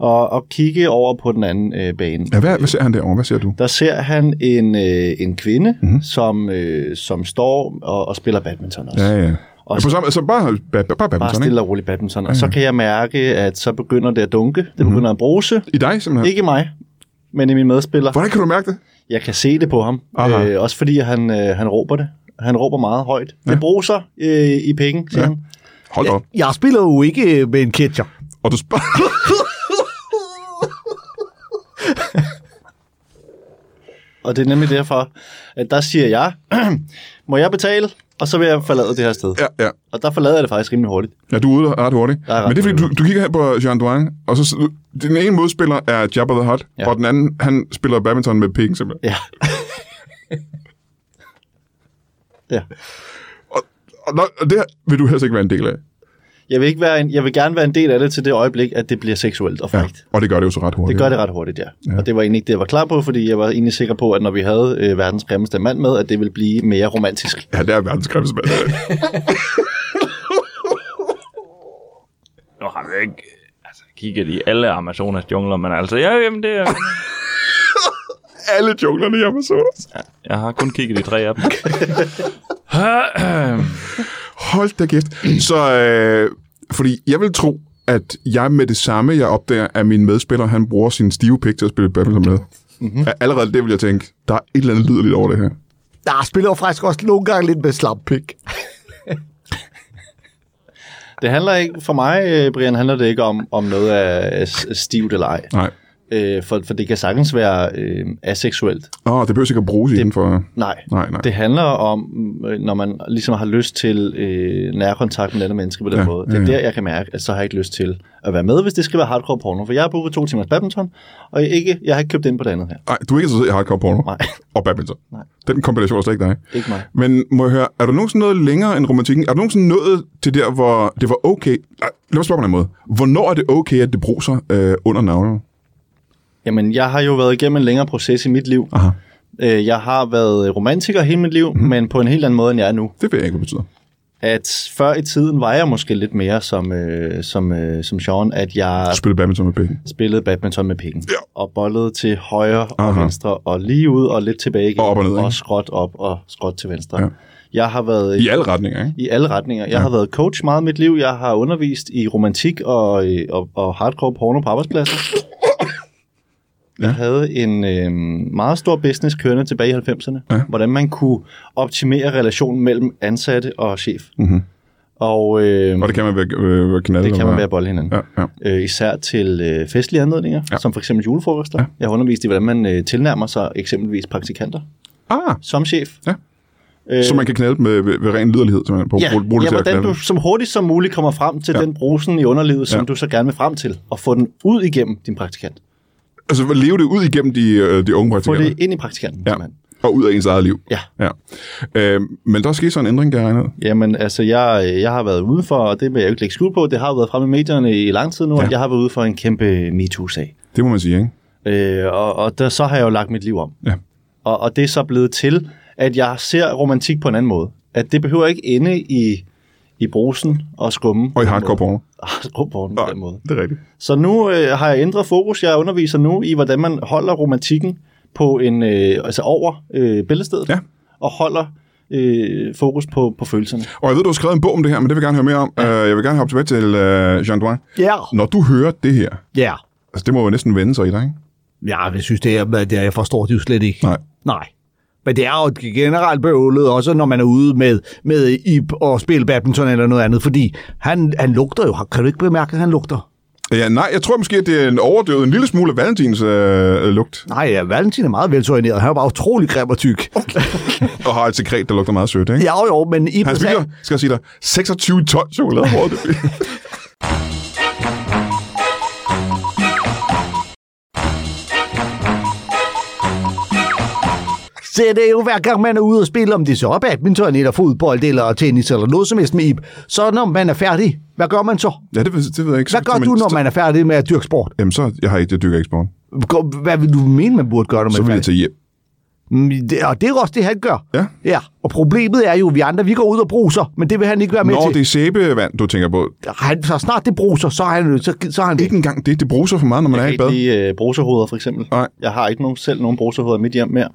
Speaker 2: at, at kigge over på den anden øh, bane.
Speaker 1: Ja, hvad, hvad ser han derovre? Hvad ser du?
Speaker 2: Der ser han en, øh, en kvinde,
Speaker 1: Mhm.
Speaker 2: mm-hmm. som, øh, som står og, og spiller badminton også.
Speaker 1: Ja, ja.
Speaker 2: Og
Speaker 1: ja på samme, altså bare, ba, ba, bare
Speaker 2: Bare
Speaker 1: badminton,
Speaker 2: stille
Speaker 1: ikke?
Speaker 2: og roligt badminton. Og så kan jeg mærke, at så begynder det at dunke. Det
Speaker 1: Mhm.
Speaker 2: begynder at bruse.
Speaker 1: I dig, simpelthen?
Speaker 2: Ikke i mig, men i min medspiller.
Speaker 1: Hvordan kan du mærke det?
Speaker 2: Jeg kan se det på ham.
Speaker 1: Aha.
Speaker 2: Øh, også fordi han, øh, han råber det. Han råber meget højt. Ja. Det bruser øh, i penge, siger ja. han.
Speaker 1: Hold da op.
Speaker 4: Jeg spiller jo ikke øh, med en catcher.
Speaker 1: Og du spørger...
Speaker 2: Og det er nemlig derfor, at der siger jeg, må jeg betale? Og så vil jeg forlade det her sted. Ja.
Speaker 1: ja, ja.
Speaker 2: Og der forlader jeg det faktisk rimelig hurtigt.
Speaker 1: Ja, du er ude ret hurtigt.
Speaker 2: er ret
Speaker 1: Men det er fordi, du, du kigger her på Jean Duan, og så sidder du- den ene modspiller er Jabba the Hutt,
Speaker 2: Ja.
Speaker 1: ja. og den anden, han spiller badminton med penge, simpelthen.
Speaker 2: Ja. ja.
Speaker 1: Og, nå, og det her vil du helst ikke være en del af.
Speaker 2: Jeg vil, ikke være en, jeg vil gerne være en del af det til det øjeblik, at det bliver seksuelt og frækt. Ja.
Speaker 1: Og det gør det jo så ret hurtigt.
Speaker 2: Det gør det ret hurtigt, ja. ja. Og det var egentlig ikke det, jeg var klar på, fordi jeg var egentlig sikker på, at når vi havde øh, verdens grimmeste mand med, at det ville blive mere romantisk.
Speaker 1: Ja, det er verdens grimmeste mand.
Speaker 3: Nu har jeg ikke altså, kigget i alle Amazonas jungler, men altså, ja, jamen, det er,
Speaker 1: Alle junglerne i Amazonas.
Speaker 3: jeg har kun kigget i tre af dem.
Speaker 1: Hold da kæft. Så, øh, fordi jeg vil tro, at jeg med det samme, jeg opdager, at min medspiller, han bruger sin stive pik til at spille badminton med.
Speaker 2: Mhm.
Speaker 1: Mm-hmm. Allerede det vil jeg tænke, der er et eller andet lydeligt over det her.
Speaker 4: Der spiller jo faktisk også nogle gange lidt med slampik.
Speaker 2: Det handler ikke, for mig, øh, Brian, handler det ikke om, om noget er s- stivt eller ej.
Speaker 1: Nej.
Speaker 2: Øh, for, for det kan sagtens være øh, aseksuelt.
Speaker 1: Åh, det behøver ikke at bruges det... inden for...
Speaker 2: Nej.
Speaker 1: Nej, nej.
Speaker 2: Det handler om, øh, når man ligesom har lyst til øh, nærkontakt med et andet menneske på den
Speaker 1: Ja,
Speaker 2: ja, måde. Det er
Speaker 1: ja,
Speaker 2: ja,
Speaker 1: ja.
Speaker 2: der, jeg kan mærke, at så har jeg ikke lyst til at være med, hvis det skal være hardcore porno. For jeg har brug for to timers badminton, og jeg, ikke, jeg har ikke købt ind på det andet her.
Speaker 1: Nej, du er ikke interesseret i hardcore porno
Speaker 2: Nej,
Speaker 1: og badminton.
Speaker 2: Nej.
Speaker 1: Den kombination er slet ikke dig.
Speaker 2: ikke mig.
Speaker 1: Men må jeg høre, er du nogensinde nået længere end romantikken? Er du nogensinde nået til der, hvor det var okay... Nej, lad mig spørge på en anden måde. Hvornår er det okay, at det bruser øh, under navnet?
Speaker 2: Jamen, jeg har jo været igennem en længere proces i mit liv.
Speaker 1: Aha,
Speaker 2: Øh, jeg har været romantiker hele mit liv, mm-hmm. men på en helt anden måde, end jeg er nu.
Speaker 1: det ved jeg ikke, hvad det betyder.
Speaker 2: At før i tiden var jeg måske lidt mere som, øh, som, øh, som Sean, at jeg
Speaker 1: Du spiller badminton med begge.
Speaker 2: spillede badminton med pikken.
Speaker 1: Ja.
Speaker 2: Og bollede til højre og
Speaker 1: Aha.
Speaker 2: venstre, og lige ud og lidt tilbage igen.
Speaker 1: Og op og ned, ikke?
Speaker 2: Og skråt op og skråt til venstre.
Speaker 1: Ja.
Speaker 2: Jeg har været
Speaker 1: I alle retninger, ikke?
Speaker 2: i alle retninger. Jeg ja. har været coach meget i mit liv. Jeg har undervist i romantik og, øh, og, og hardcore porno på arbejdspladser.
Speaker 1: Ja.
Speaker 2: Jeg havde en øh, meget stor business kørende tilbage i 90'erne,
Speaker 1: Ja.
Speaker 2: ja. hvordan man kunne optimere relationen mellem ansatte og chef.
Speaker 1: Mhm.
Speaker 2: Og øh,
Speaker 1: Og det kan man være, øh, være knaldet.
Speaker 2: det kan man
Speaker 1: eller
Speaker 2: være bolle hinanden.
Speaker 1: hvad? Ja, ja.
Speaker 2: Øh, især til øh, festlige anledninger,
Speaker 1: Ja.
Speaker 2: ja. som for eksempel julefrokoster.
Speaker 1: Ja.
Speaker 2: Ja. Jeg har undervist i, hvordan man øh, tilnærmer sig eksempelvis praktikanter
Speaker 1: Ah,
Speaker 2: som chef.
Speaker 1: Ja.
Speaker 2: Øh,
Speaker 1: så man kan knalde dem med, ved, ved ren liderlighed, simpelthen. På,
Speaker 2: Ja,
Speaker 1: brug, brug det
Speaker 2: ja
Speaker 1: til at
Speaker 2: hvordan
Speaker 1: knalde
Speaker 2: du
Speaker 1: dem.
Speaker 2: som hurtigt som muligt kommer frem til
Speaker 1: Ja.
Speaker 2: ja. den brusen i underlivet, som
Speaker 1: Ja.
Speaker 2: ja. du så gerne vil frem til, og få den ud igennem din praktikant.
Speaker 1: Altså, leve det ud igennem de, øh, de unge
Speaker 2: Få
Speaker 1: praktikanter.
Speaker 2: det ind i praktikanten,
Speaker 1: Ja.
Speaker 2: ja. simpelthen.
Speaker 1: Og ud af ens eget liv.
Speaker 2: Ja.
Speaker 1: ja. Øh, men der skete så en ændring, kan jeg regne ud.
Speaker 2: Jamen, altså, jeg, jeg har været ude for, og det vil jeg jo ikke lægge skjul på, det har jo været fremme i medierne i lang tid nu,
Speaker 1: Ja.
Speaker 2: ja. at jeg har været ude for en kæmpe MeToo-sag.
Speaker 1: Det må man sige, ikke?
Speaker 2: Øh, og og der, så har jeg jo lagt mit liv om.
Speaker 1: Ja.
Speaker 2: Og, og det er så blevet til, at jeg ser romantik på en anden måde. At det behøver ikke ende i, i brusen og skumme.
Speaker 1: Og i
Speaker 2: på den
Speaker 1: hardcore
Speaker 2: måde.
Speaker 1: porno.
Speaker 2: Hardcore porno på den måde.
Speaker 1: det er rigtigt.
Speaker 2: Så nu øh, har jeg ændret fokus. Jeg underviser nu i, hvordan man holder romantikken på en, øh, altså over øh, billedstedet.
Speaker 1: Ja.
Speaker 2: Og holder øh, fokus på, på følelserne.
Speaker 1: Og jeg ved, du har skrevet en bog om det her, men det vil jeg gerne høre mere om. Ja. jeg vil gerne hoppe tilbage til uh, Jean Douin.
Speaker 4: Ja.
Speaker 1: Når du hører det her,
Speaker 4: Ja.
Speaker 1: altså det må jo næsten vende sig i dig, ikke?
Speaker 4: Ja, jeg synes, det er, at jeg forstår det jo slet ikke.
Speaker 1: Nej.
Speaker 4: Nej. Men det er jo generelt bøvlet, også når man er ude med, med Ip og spille badminton eller noget andet, fordi han, han lugter jo. Kan du ikke bemærke, at han lugter?
Speaker 1: Ja, nej, jeg tror måske, at det er en overdøvet, en lille smule af Valentins øh, lugt,
Speaker 4: Nej, ja, Valentin er meget velsorineret. Han er bare utrolig grim og tyk. Okay.
Speaker 1: og har et sekret, der lugter meget sødt, ikke?
Speaker 4: ja, jo, jo, men Ip...
Speaker 1: Han spiser, skal jeg sige dig, 26 ton chokolade over det.
Speaker 4: Så det er jo hver gang, man er ude og spille, om det så er badminton eller fodbold eller tennis eller noget som helst med Ip. Så når man er færdig, hvad gør man så?
Speaker 1: Ja, det, ved- det ved jeg ikke.
Speaker 4: Hvad
Speaker 1: Så-
Speaker 4: gør
Speaker 1: men-
Speaker 4: du, når man er færdig med at dyrke sport?
Speaker 1: Jamen, så jeg har ikke, jeg dykker ikke sporten.
Speaker 4: Gå- Hvad vil du mene, man burde gøre, når man
Speaker 1: Så
Speaker 4: er
Speaker 1: vil jeg
Speaker 4: færdig?
Speaker 1: tage hjem.
Speaker 4: Mm, det- Og det er også det, han gør.
Speaker 1: Ja.
Speaker 4: ja. Og problemet er jo, at vi andre, vi går ud og bruser, men det vil han ikke være med
Speaker 1: Når
Speaker 4: til.
Speaker 1: det er sæbevand, du tænker på.
Speaker 4: Han, så snart det bruser, så er han, så, så er han
Speaker 1: Ikke engang det, det bruser for meget, når man er
Speaker 2: Jeg
Speaker 1: i
Speaker 2: kan
Speaker 1: bad.
Speaker 2: ikke lide øh, bruserhoveder, for eksempel.
Speaker 1: Nej.
Speaker 2: Jeg har ikke nogen, selv nogen bruserhoveder i mit hjem mere,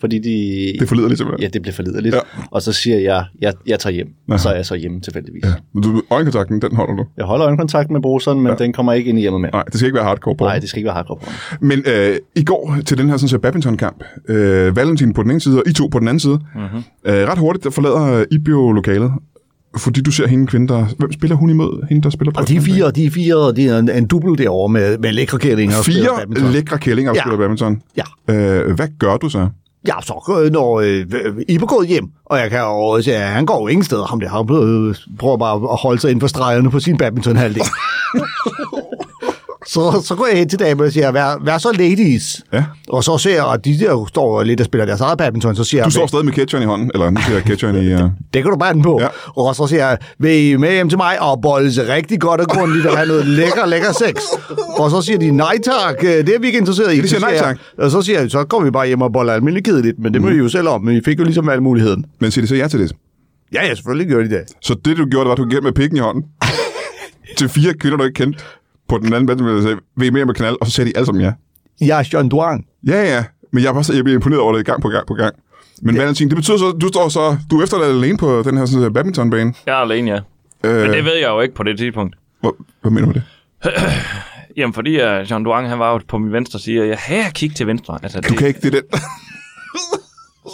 Speaker 2: fordi de...
Speaker 1: Det forlider lidt simpelthen.
Speaker 2: Ja, det bliver forlider lidt.
Speaker 1: Ja.
Speaker 2: Ja. Og så siger jeg, jeg, jeg tager hjem.
Speaker 1: Aha.
Speaker 2: Og så er jeg så hjemme tilfældigvis. Ja.
Speaker 1: Ja. Du, øjenkontakten, den holder du.
Speaker 2: Jeg holder øjenkontakt med bruseren, men ja. den kommer ikke ind i hjemmet mere.
Speaker 1: Nej, det skal ikke være hardcore porno.
Speaker 2: Nej, det skal ikke være hardcore porno.
Speaker 1: Men øh, i går til den her sådan set, badmintonkamp, øh, Valentin på den ene side, og I to på den anden side,
Speaker 4: Mhm.
Speaker 1: mm-hmm. øh, ret hurtigt der forlader øh, Ibio lokalet, fordi du ser hende kvinde, der... Hvem spiller hun imod? Hende, der spiller på
Speaker 4: Og de er fire, og de er fire, og det er en, en dubbel derovre med, med lækre kællinger. og spiller badminton.
Speaker 1: Fire lækre kællinger, der
Speaker 4: Ja.
Speaker 1: spiller badminton.
Speaker 4: Ja.
Speaker 1: Øh, hvad gør du så?
Speaker 4: Ja, så øh, når øh, øh, Ibe går hjem, og jeg kan jo også, ja, han går jo ingen steder, ham der, han øh, prøver bare at holde sig inden for stregerne på sin badmintonhalvdel. så, så går jeg hen til damen og siger, vær, vær så ladies.
Speaker 1: Ja.
Speaker 4: Og så ser jeg, og de der står lidt og spiller deres eget badminton, så siger
Speaker 1: Du
Speaker 4: jeg,
Speaker 1: står stadig med ketchup i hånden, eller nu siger jeg ketchup i... Øh,
Speaker 4: det kan du bare den på.
Speaker 1: Ja.
Speaker 4: Ja. Og så siger jeg, vil I med hjem til mig og bolle sig rigtig godt og grundigt og have noget lækker, lækker sex? Og så siger de, nej tak, øh, det er vi ikke interesseret i.
Speaker 1: de siger,
Speaker 4: Så
Speaker 1: "Nej, Mm.
Speaker 4: jeg- Og så siger jeg, så går vi bare hjem og boller almindelig kedeligt, men det må I jo selv om, men I fik jo ligesom valgmuligheden.
Speaker 1: men siger de så ja til det?
Speaker 4: Ja, ja, selvfølgelig gør de det.
Speaker 1: Så det, du gjorde, det var, at du gik hjem med pikken i hånden til fire kvinder, du ikke kendte på den anden badminton, og sagde, vil I mere med knald? Og så sagde de alle sammen ja.
Speaker 4: Jeg er John Duang.
Speaker 1: Ja, ja, men jeg, er bare, så- jeg bliver imponeret over det gang på gang på gang. Men ja. Valentin, det betyder så, du står så, du er efterladt alene på den her sådan, øh, badmintonbane.
Speaker 3: Jeg er alene, ja.
Speaker 1: Øh,
Speaker 3: Men det ved jeg jo ikke på det tidspunkt.
Speaker 1: hvor, hvad mener du med det?
Speaker 3: Jamen, fordi øh, uh, Jean Duang, han var jo på min venstre side, og jeg har kigge til venstre. Altså,
Speaker 1: Du
Speaker 3: det,
Speaker 1: kan ikke, det er den.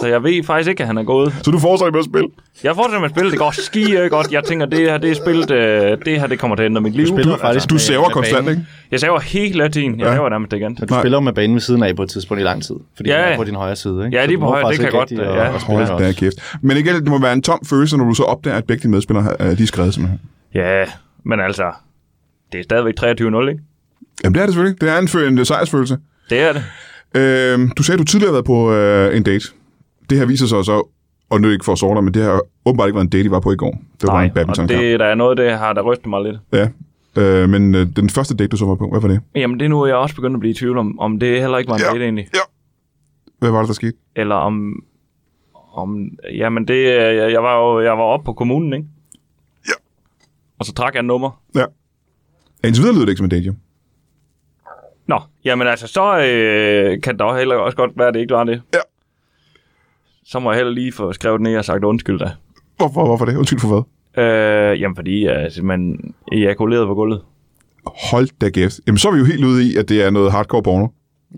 Speaker 3: Så jeg ved faktisk ikke, at han er gået.
Speaker 1: Så du fortsætter med at spille.
Speaker 3: Jeg fortsætter med at spille. Det går skide godt. Jeg tænker, det her, det er spillet, øh, det her, det kommer til at ændre mit liv.
Speaker 2: spiller
Speaker 1: Du,
Speaker 2: faktisk
Speaker 1: du
Speaker 2: med-
Speaker 1: saver
Speaker 2: med
Speaker 1: konstant,
Speaker 2: banen.
Speaker 1: ikke?
Speaker 3: Jeg saver hele tiden. Jeg
Speaker 1: Ja.
Speaker 3: saver nærmest igen.
Speaker 2: Men du
Speaker 1: Nej.
Speaker 2: Nej. spiller jo med banen ved siden af på et tidspunkt i lang tid, fordi
Speaker 3: Ja,
Speaker 2: ja. du
Speaker 3: ja.
Speaker 2: er på din højre side. Ikke?
Speaker 3: Ja,
Speaker 2: Så
Speaker 3: lige
Speaker 2: du
Speaker 3: på
Speaker 2: når
Speaker 3: højre,
Speaker 2: faktisk
Speaker 3: det kan
Speaker 2: ikke rigtig
Speaker 3: jeg godt, ja.
Speaker 2: At, at spille
Speaker 1: Hold da
Speaker 2: også.
Speaker 1: kæft. Men igen, det må være en tom følelse, når du så opdager, at begge dine medspillere øh, de er skrevet simpelthen.
Speaker 3: Ja, men altså, det er stadigvæk 23-0, ikke?
Speaker 1: Jamen det er det selvfølgelig. Det er en, fø- en sejrsfølelse.
Speaker 3: Det er det.
Speaker 1: Øh, du sagde, at du tidligere har været på øh, en date. Det her viser sig så, og nu er det ikke for at såre dig, men det har åbenbart ikke været en date, I var på i går. Det var bare en
Speaker 3: og
Speaker 1: badminton
Speaker 3: det der er noget, det har der rystet mig lidt.
Speaker 1: Ja. Øh, men øh, den første date, du så var på, hvad var det?
Speaker 3: Jamen, det er nu, jeg også begyndt at blive i tvivl om, om det heller ikke var en
Speaker 1: Ja.
Speaker 3: ja. date egentlig.
Speaker 1: Hvad var det, der skete?
Speaker 3: Eller om... om jamen, det, øh, jeg, jeg var jo jeg var oppe på kommunen, ikke?
Speaker 1: Ja.
Speaker 3: Og så trak jeg en nummer.
Speaker 1: Ja, indtil videre lyder det ikke som en date, jo.
Speaker 3: Nå, jamen altså, så øh, kan det da heller også godt være, at det ikke var det.
Speaker 1: Ja.
Speaker 3: Så må jeg heller lige få skrevet ned og sagt undskyld da.
Speaker 1: Hvorfor, hvorfor det? Undskyld for hvad?
Speaker 3: Øh, jamen, fordi jeg simpelthen ejakulerede på gulvet.
Speaker 1: Hold da kæft. Jamen, så er vi jo helt ude i, at det er noget hardcore porno.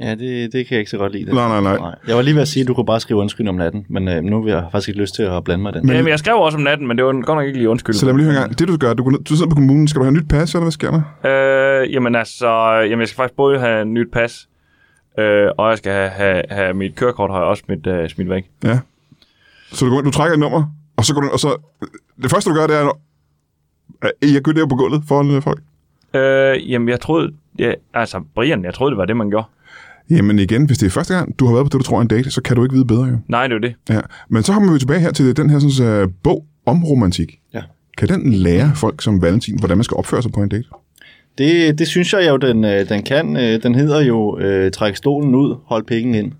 Speaker 2: Ja, det, det kan jeg ikke så godt lide. Det.
Speaker 1: Nej, nej, nej.
Speaker 2: Jeg var lige ved at sige, at du kunne bare skrive undskyld om natten, men øh, nu har jeg faktisk ikke lyst til at blande mig i den.
Speaker 1: Men-
Speaker 2: Men,
Speaker 3: Jamen, jeg skrev også om natten, men det var godt nok ikke lige undskyld.
Speaker 1: Så lad mig lige høre en gang. Det, du gør, du, går ned- du sidder på kommunen. Skal du have nyt pas, eller hvad sker der?
Speaker 3: Øh, jamen altså, jamen jeg skal faktisk både have en nyt pas, øh, og jeg skal have, have, have mit kørekort, har jeg også smidt, øh, smidt væk.
Speaker 1: Ja. Så du, går, ind, du trækker et nummer, og så går du... Og så, det første, du gør, det er... at Jeg gør det på gulvet foran øh, folk.
Speaker 3: Øh, jamen jeg troede, ja, altså Brian, jeg troede, det var det, man gjorde.
Speaker 1: Jamen igen, hvis det er første gang, du har været på det, du tror er en date, så kan du ikke vide bedre, jo.
Speaker 3: Nej, det er jo det.
Speaker 1: Ja. Men så kommer vi tilbage her til den her sådan, uh, bog om romantik.
Speaker 2: Ja.
Speaker 1: Kan den lære folk som Valentin, hvordan man skal opføre sig på en date?
Speaker 2: det, det synes jeg jo, den, øh, den kan. Øh, Den hedder jo øh, Træk stolen ud, hold pikken ind.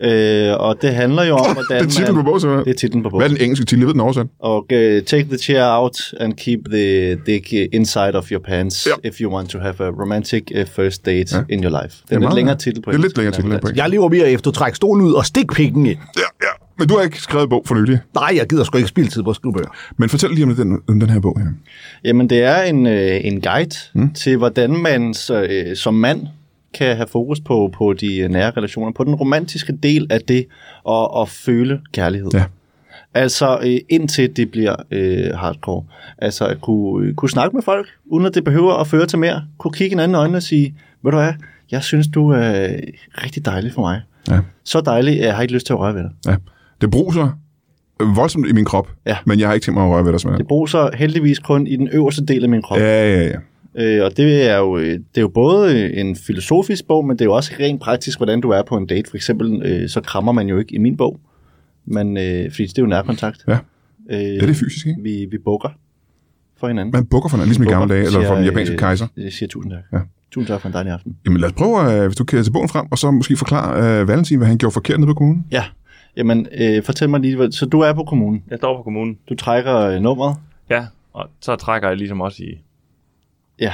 Speaker 2: Øh, og det handler jo om, hvordan
Speaker 1: det er titlen på bogen, simpelthen.
Speaker 2: Det er titlen på bogen.
Speaker 1: Hvad er den engelske titel? Jeg ved den oversat.
Speaker 2: Og uh, take the chair out and keep the dick inside of your pants
Speaker 1: Ja.
Speaker 2: ja. if you want to have a romantic uh, first date
Speaker 1: Ja.
Speaker 2: ja. in your life. Det er
Speaker 1: er
Speaker 2: en lidt
Speaker 1: meget-
Speaker 2: længere titel på
Speaker 1: Det er lidt
Speaker 2: engelsk,
Speaker 1: længere
Speaker 2: men
Speaker 1: titel
Speaker 2: på
Speaker 1: end på
Speaker 2: dansk.
Speaker 4: Jeg lever mere efter at trække stolen ud og stikke pikken ind.
Speaker 1: Ja, ja. Men du har ikke skrevet bog for nylig.
Speaker 4: Nej, jeg gider sgu ikke spille tid på at skrive bøger.
Speaker 1: Men fortæl lige om den, om den her bog her.
Speaker 2: Jamen, det er en, øh, en guide mm. til, hvordan man så, øh, som mand kan have fokus på, på de øh, nære relationer, på den romantiske del af det at, at føle kærlighed.
Speaker 1: Ja.
Speaker 2: Altså øh, indtil det bliver øh, hardcore. Altså at kunne, øh, kunne snakke med folk, uden at det behøver at føre til mere. Kunne kigge hinanden i øjnene og sige, ved du hvad, jeg synes, du er rigtig dejlig for mig.
Speaker 1: Ja.
Speaker 2: Så dejlig, jeg har ikke lyst til at røre ved dig.
Speaker 1: ja. Det bruser øh, voldsomt i min krop,
Speaker 2: Ja.
Speaker 1: men jeg har ikke tænkt mig at røre ved dig, smager.
Speaker 2: Det bruser heldigvis kun i den øverste del af min krop.
Speaker 1: Ja, ja, ja.
Speaker 2: Øh, og det er, jo, øh, det er jo både øh, en filosofisk bog, men det er jo også rent praktisk, hvordan du er på en date. For eksempel, øh, så krammer man jo ikke i min bog, men, øh, fordi det er jo nærkontakt.
Speaker 1: Ja.
Speaker 2: øh,
Speaker 1: Ja, det er fysisk, ikke?
Speaker 2: vi, vi bukker for hinanden.
Speaker 1: Man bukker for den, ligesom i gamle dage, eller
Speaker 2: Siger,
Speaker 1: for den japanske
Speaker 2: øh,
Speaker 1: kejser.
Speaker 2: Jeg siger tusind tak.
Speaker 1: Ja.
Speaker 2: Ja. Tusind tak for en dejlig aften.
Speaker 1: Jamen lad os prøve, øh, hvis du kan tage bogen frem, og så måske forklare øh, Valentin, hvad han gjorde forkert nede på kommunen.
Speaker 2: Ja, jamen øh, fortæl mig lige, hvad- så du er på kommunen.
Speaker 3: Jeg står på kommunen.
Speaker 2: Du trækker øh, nummeret.
Speaker 3: Ja, og så trækker jeg ligesom også i...
Speaker 2: Ja.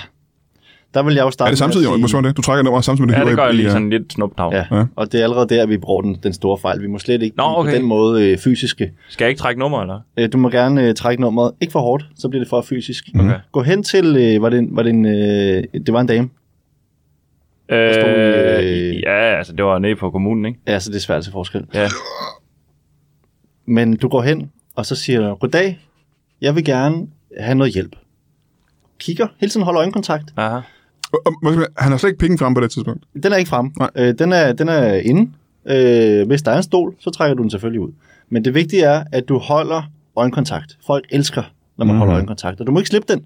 Speaker 2: Der vil jeg jo starte
Speaker 1: Er det samtidig,
Speaker 2: med
Speaker 1: jo?
Speaker 2: at
Speaker 1: Må
Speaker 2: sige,
Speaker 1: svare det? Du trækker nummer samtidig med det
Speaker 3: Ja, det
Speaker 1: hiver
Speaker 3: gør
Speaker 1: i-
Speaker 3: jeg
Speaker 1: i,
Speaker 3: lige
Speaker 1: øh,
Speaker 3: sådan lidt snuptag. Ja.
Speaker 2: ja.
Speaker 1: Ja.
Speaker 2: ja. Og det er allerede der, vi bruger den, den store fejl. Vi må slet ikke
Speaker 3: Nå, okay.
Speaker 2: på den måde øh, fysiske.
Speaker 3: Skal jeg ikke trække nummer, eller?
Speaker 2: Øh, Du må gerne øh, trække nummeret. Ikke for hårdt, så bliver det for fysisk.
Speaker 3: Okay.
Speaker 2: Gå hen til, øh, var det, en- var det, en, øh, det var en dame. stod i,
Speaker 3: Øh,
Speaker 2: øh,
Speaker 3: ja, altså det var nede på kommunen, ikke?
Speaker 2: Ja, så det er svært til forskel.
Speaker 3: Ja.
Speaker 2: Men du går hen, og så siger du, goddag, jeg vil gerne have noget hjælp. Kigger, hele tiden holder øjenkontakt.
Speaker 3: Aha.
Speaker 1: Og- og måske- Han har slet ikke penge frem på det tidspunkt.
Speaker 2: Den er ikke fremme.
Speaker 1: Nej.
Speaker 2: Øh, den, er, den er inde. Øh, hvis der er en stol, så trækker du den selvfølgelig ud. Men det vigtige er, at du holder øjenkontakt. Folk elsker, når
Speaker 1: Mhm.
Speaker 2: man mm-hmm. holder øjenkontakt, og du må ikke slippe den.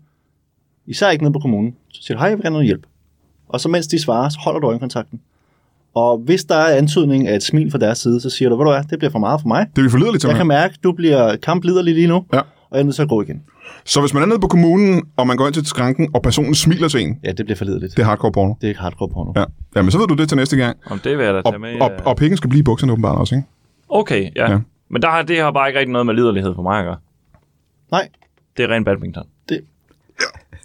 Speaker 2: Især ikke nede på kommunen. Så siger du, hej, jeg vil gerne have noget hjælp. Og så mens de svarer, så holder du øjenkontakten. Og hvis der er antydning af et smil fra deres side, så siger du, ved du hvad, det bliver for meget for mig.
Speaker 1: Det er vi forleder lidt til.
Speaker 2: Jeg kan mærke, du bliver kampliderlig lige nu,
Speaker 1: Ja.
Speaker 2: og jeg er nødt til at gå igen.
Speaker 1: Så hvis man er nede på kommunen, og man går ind til skranken, og personen smiler til en,
Speaker 2: Ja, det bliver forlideligt.
Speaker 1: det er hardcore porno.
Speaker 2: Det er ikke hardcore porno.
Speaker 1: Ja. Jamen, så ved du det til næste gang.
Speaker 3: Om det vil Altså, jeg da
Speaker 1: Og,
Speaker 3: tage med.
Speaker 1: og,
Speaker 3: øh.
Speaker 1: og penge skal blive i bukserne åbenbart også, ikke?
Speaker 3: Okay, ja.
Speaker 1: Ja.
Speaker 3: ja. Men der har, det har bare ikke rigtig noget med liderlighed for mig at gøre.
Speaker 2: Nej,
Speaker 3: Det er ren badminton.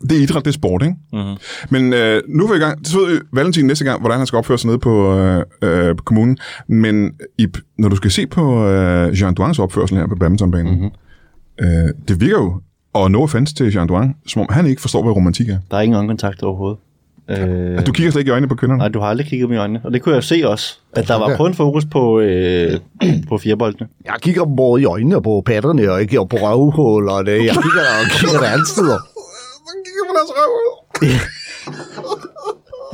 Speaker 1: Det er idræt, det er sport, ikke?
Speaker 3: Mhm.
Speaker 1: Men øh, nu er vi i gang. Så ved vi, Valentin næste gang, hvordan han skal opføre sig nede på øh, øh, på kommunen. Men Ip, når du skal se på øh, Jean Duans opførsel her på badmintonbanen,
Speaker 3: Mhm.
Speaker 1: mm-hmm. øh, det virker jo, og no offense til Jean Duan, som om han ikke forstår, hvad romantik er.
Speaker 2: der er ingen øjenkontakt overhovedet. Øh,
Speaker 1: Du kigger slet ikke i øjnene på kønnerne.
Speaker 2: nej, du har aldrig kigget dem i øjnene. Og det kunne jeg jo se også, at der var
Speaker 4: Okay.
Speaker 2: kun fokus på, øh, på fireboldene.
Speaker 4: Jeg kigger dem både i øjnene og på patterne, og ikke og på røvhuller og det. Jeg kigger der og kigger der alle steder.
Speaker 1: kigger på deres røv.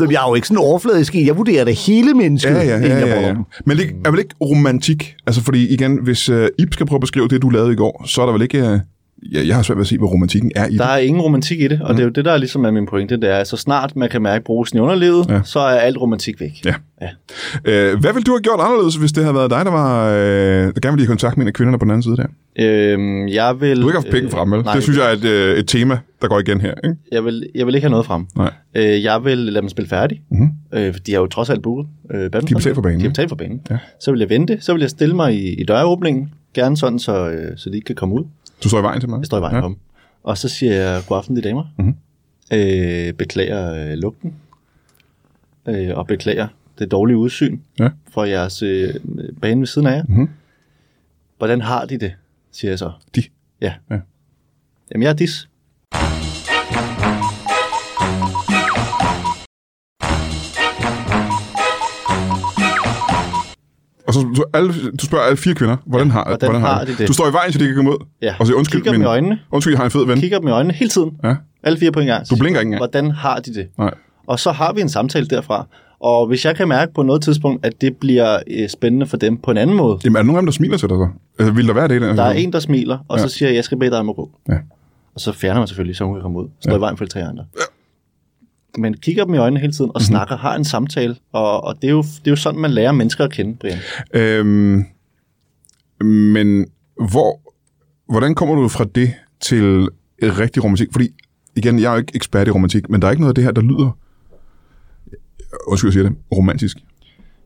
Speaker 4: Jamen, Jeg er jo ikke sådan overfladisk i. Jeg vurderer det hele mennesket,
Speaker 1: Ja, ja, ja,
Speaker 4: inden jeg
Speaker 1: ja,
Speaker 4: bruger
Speaker 1: ja.
Speaker 4: dem.
Speaker 1: Men det er vel ikke romantik? Altså, fordi igen, hvis øh, Ip skal prøve at beskrive det, du lavede i går, så er der vel ikke... Øh, jeg, jeg har svært ved at se, hvad romantikken er i det.
Speaker 2: Der er ingen romantik i det, og mm. det er jo det, der ligesom er min pointe. Det er, at så snart man kan mærke brusen i underlivet,
Speaker 1: Ja.
Speaker 2: ja. så er alt romantik væk.
Speaker 1: Ja.
Speaker 2: Ja.
Speaker 1: Øh, hvad ville du have gjort anderledes, hvis det havde været dig, der var øh, der gerne ville i kontakt med en af kvinderne på den anden side der?
Speaker 2: Øhm, jeg vil,
Speaker 1: Du har ikke haft penge
Speaker 2: øh,
Speaker 1: frem, vel?
Speaker 2: Nej,
Speaker 1: Det synes jeg er et, øh, et tema, der går igen her. Ikke?
Speaker 2: jeg vil, jeg vil ikke have noget frem.
Speaker 1: Nej.
Speaker 2: Øh, jeg vil lade dem spille færdig.
Speaker 1: Mhm.
Speaker 2: Øh, for de har jo trods alt booket. Øh, badminton.
Speaker 1: De har betalt for banen,
Speaker 2: De har
Speaker 1: ikke?
Speaker 2: betalt for banen.
Speaker 1: Ja.
Speaker 2: Ja. Så vil jeg vente. Så vil jeg stille mig i, i døråbningen. Gerne sådan, så, øh, så de ikke kan komme ud.
Speaker 1: Du står i vejen til mig.
Speaker 2: Jeg står i vejen ja. for dem. Og så siger jeg, god aften, de damer.
Speaker 1: Mhm.
Speaker 2: Øh, beklager øh, lugten. Øh, og beklager det dårlige udsyn
Speaker 1: Ja.
Speaker 2: for jeres øh, bane ved siden af jer.
Speaker 1: Mhm.
Speaker 2: Hvordan har de det, siger jeg så.
Speaker 1: De.
Speaker 2: Ja.
Speaker 1: Ja.
Speaker 2: Jamen, jeg er dis.
Speaker 1: Og så du, alle, du spørger alle fire kvinder, hvordan har,
Speaker 2: hvordan har de det?
Speaker 1: Du står i vejen, så de kan komme ud.
Speaker 2: Ja.
Speaker 1: Og siger, undskyld,
Speaker 2: Kigger dem i øjnene.
Speaker 1: undskyld, jeg har en fed ven.
Speaker 2: Kigger dem i øjnene hele tiden.
Speaker 1: Ja.
Speaker 2: Alle fire på en gang.
Speaker 1: Du blinker ikke engang.
Speaker 2: Hvordan har de det?
Speaker 1: Nej.
Speaker 2: Og så har vi en samtale derfra. Og hvis jeg kan mærke på noget tidspunkt, at det bliver øh, spændende for dem på en anden måde.
Speaker 1: Jamen, er der nogen af dem, der smiler til dig så? Altså, vil der være det? i den her
Speaker 2: Der er
Speaker 1: situation?
Speaker 2: en, der smiler, og ja. så siger jeg, jeg skal bede dig om at gå.
Speaker 1: Ja.
Speaker 2: Og så fjerner man selvfølgelig, så hun kan komme ud. Står ja. i vejen for de tre andre. Ja. Men kigger dem i øjnene hele
Speaker 1: Mhm.
Speaker 2: tiden og mm-hmm. snakker, har en samtale. Og, og det, er jo, det er jo sådan, man lærer mennesker at kende, Brian.
Speaker 1: Øhm, men hvor, hvordan kommer du fra det til rigtig romantik? Fordi, igen, jeg er jo ikke ekspert i romantik, men der er ikke noget af det her, der lyder, undskyld, jeg siger det, romantisk.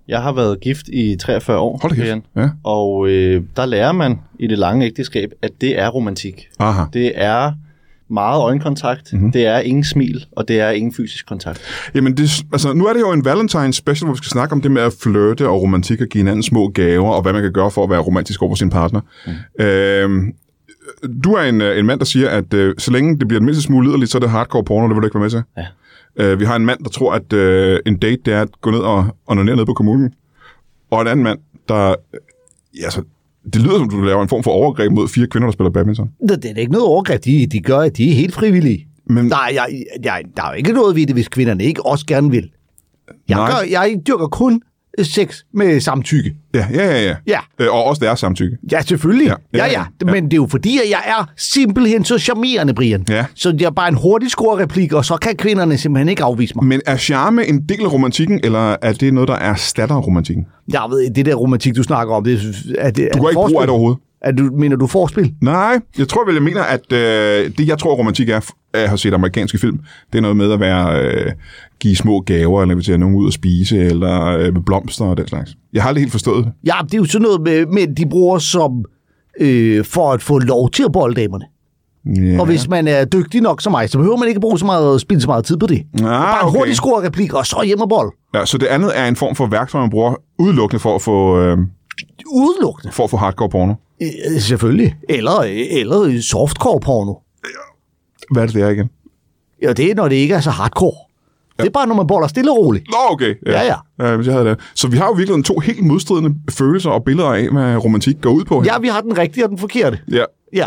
Speaker 2: Jeg har været gift i 43 år,
Speaker 1: Hold da kæft. Ja.
Speaker 2: Og øh, der lærer man i det lange ægteskab, at det er romantik.
Speaker 1: Aha.
Speaker 2: Det er meget øjenkontakt,
Speaker 1: Mhm.
Speaker 2: mm-hmm. det er ingen smil, og det er ingen fysisk kontakt.
Speaker 1: Jamen, det, altså, nu er det jo en Valentine's special, hvor vi skal snakke om det med at flirte og romantik og give hinanden små gaver, og hvad man kan gøre for at være romantisk over for sin partner. Mm. Øhm, du er en, øh, en mand, der siger, at øh, så længe det bliver det mindste smule liderligt, så er det hardcore porno, det vil du ikke være med til.
Speaker 2: Ja.
Speaker 1: Øh, vi har en mand, der tror, at øh, en date, det er at gå ned og onanere ned på kommunen. Og en anden mand, der... Ja, altså, det lyder som, du laver en form for overgreb mod fire kvinder, der spiller badminton.
Speaker 4: Det, det er da ikke noget overgreb, de, de gør. De er helt frivillige.
Speaker 1: Men-
Speaker 4: Men, der, er, jeg, jeg, der er jo ikke noget ved det, hvis kvinderne ikke også gerne vil. Jeg,
Speaker 1: Nej.
Speaker 4: gør, jeg dyrker kun øh, sex med samtykke.
Speaker 1: Ja, ja, ja. ja.
Speaker 4: Ja.
Speaker 1: Øh, og også deres samtykke.
Speaker 4: Ja, selvfølgelig.
Speaker 1: Ja.
Speaker 4: Ja.
Speaker 1: Ja,
Speaker 4: Ja,
Speaker 1: ja.
Speaker 4: ja, Men det er jo fordi, at jeg er simpelthen så charmerende, Brian.
Speaker 1: Ja.
Speaker 4: Så jeg er bare en hurtig score-replik, og så kan kvinderne simpelthen ikke afvise mig.
Speaker 1: Men er charme en del af romantikken, eller er det noget, der erstatter romantikken?
Speaker 4: Jeg ved, ikke, det der romantik, du snakker om, det er- er det,
Speaker 1: Du
Speaker 4: er
Speaker 1: går ikke brug af det overhovedet.
Speaker 4: Er du, mener du forspil?
Speaker 1: Nej, jeg tror vel, jeg mener, at øh, det, jeg tror, romantik er, f- at have set amerikanske film, det er noget med at være, øh, give små gaver, eller invitere nogen ud at spise, eller øh, med blomster og den slags. Jeg har aldrig helt forstået det.
Speaker 4: Ja, det er jo sådan noget, med, men de bruger som øh, for at få lov til at bolde damerne.
Speaker 1: Ja.
Speaker 4: Og hvis man er dygtig nok som mig, så behøver man ikke bruge så meget, spille så meget tid på det. Ah, bare en
Speaker 1: okay.
Speaker 4: hurtig score-replik, og så hjem og bold.
Speaker 1: ja, så det andet er en form for værktøj, man bruger udelukkende for at få, øh,
Speaker 4: Udelukkende.
Speaker 1: for at få hardcore porno.
Speaker 4: Øh, selvfølgelig. Eller, eller softcore-porno.
Speaker 1: Hvad er det, det er igen?
Speaker 4: Ja, det er, når det ikke er så hardcore. Ja. Det er bare, når man boller stille og roligt.
Speaker 1: Nå, okay.
Speaker 4: Ja, ja.
Speaker 1: ja hvis jeg havde det. Så vi har jo virkelig to helt modstridende følelser og billeder af, hvad romantik går ud på. her.
Speaker 4: Ja, vi har den rigtige og den forkerte.
Speaker 1: ja.
Speaker 4: Ja.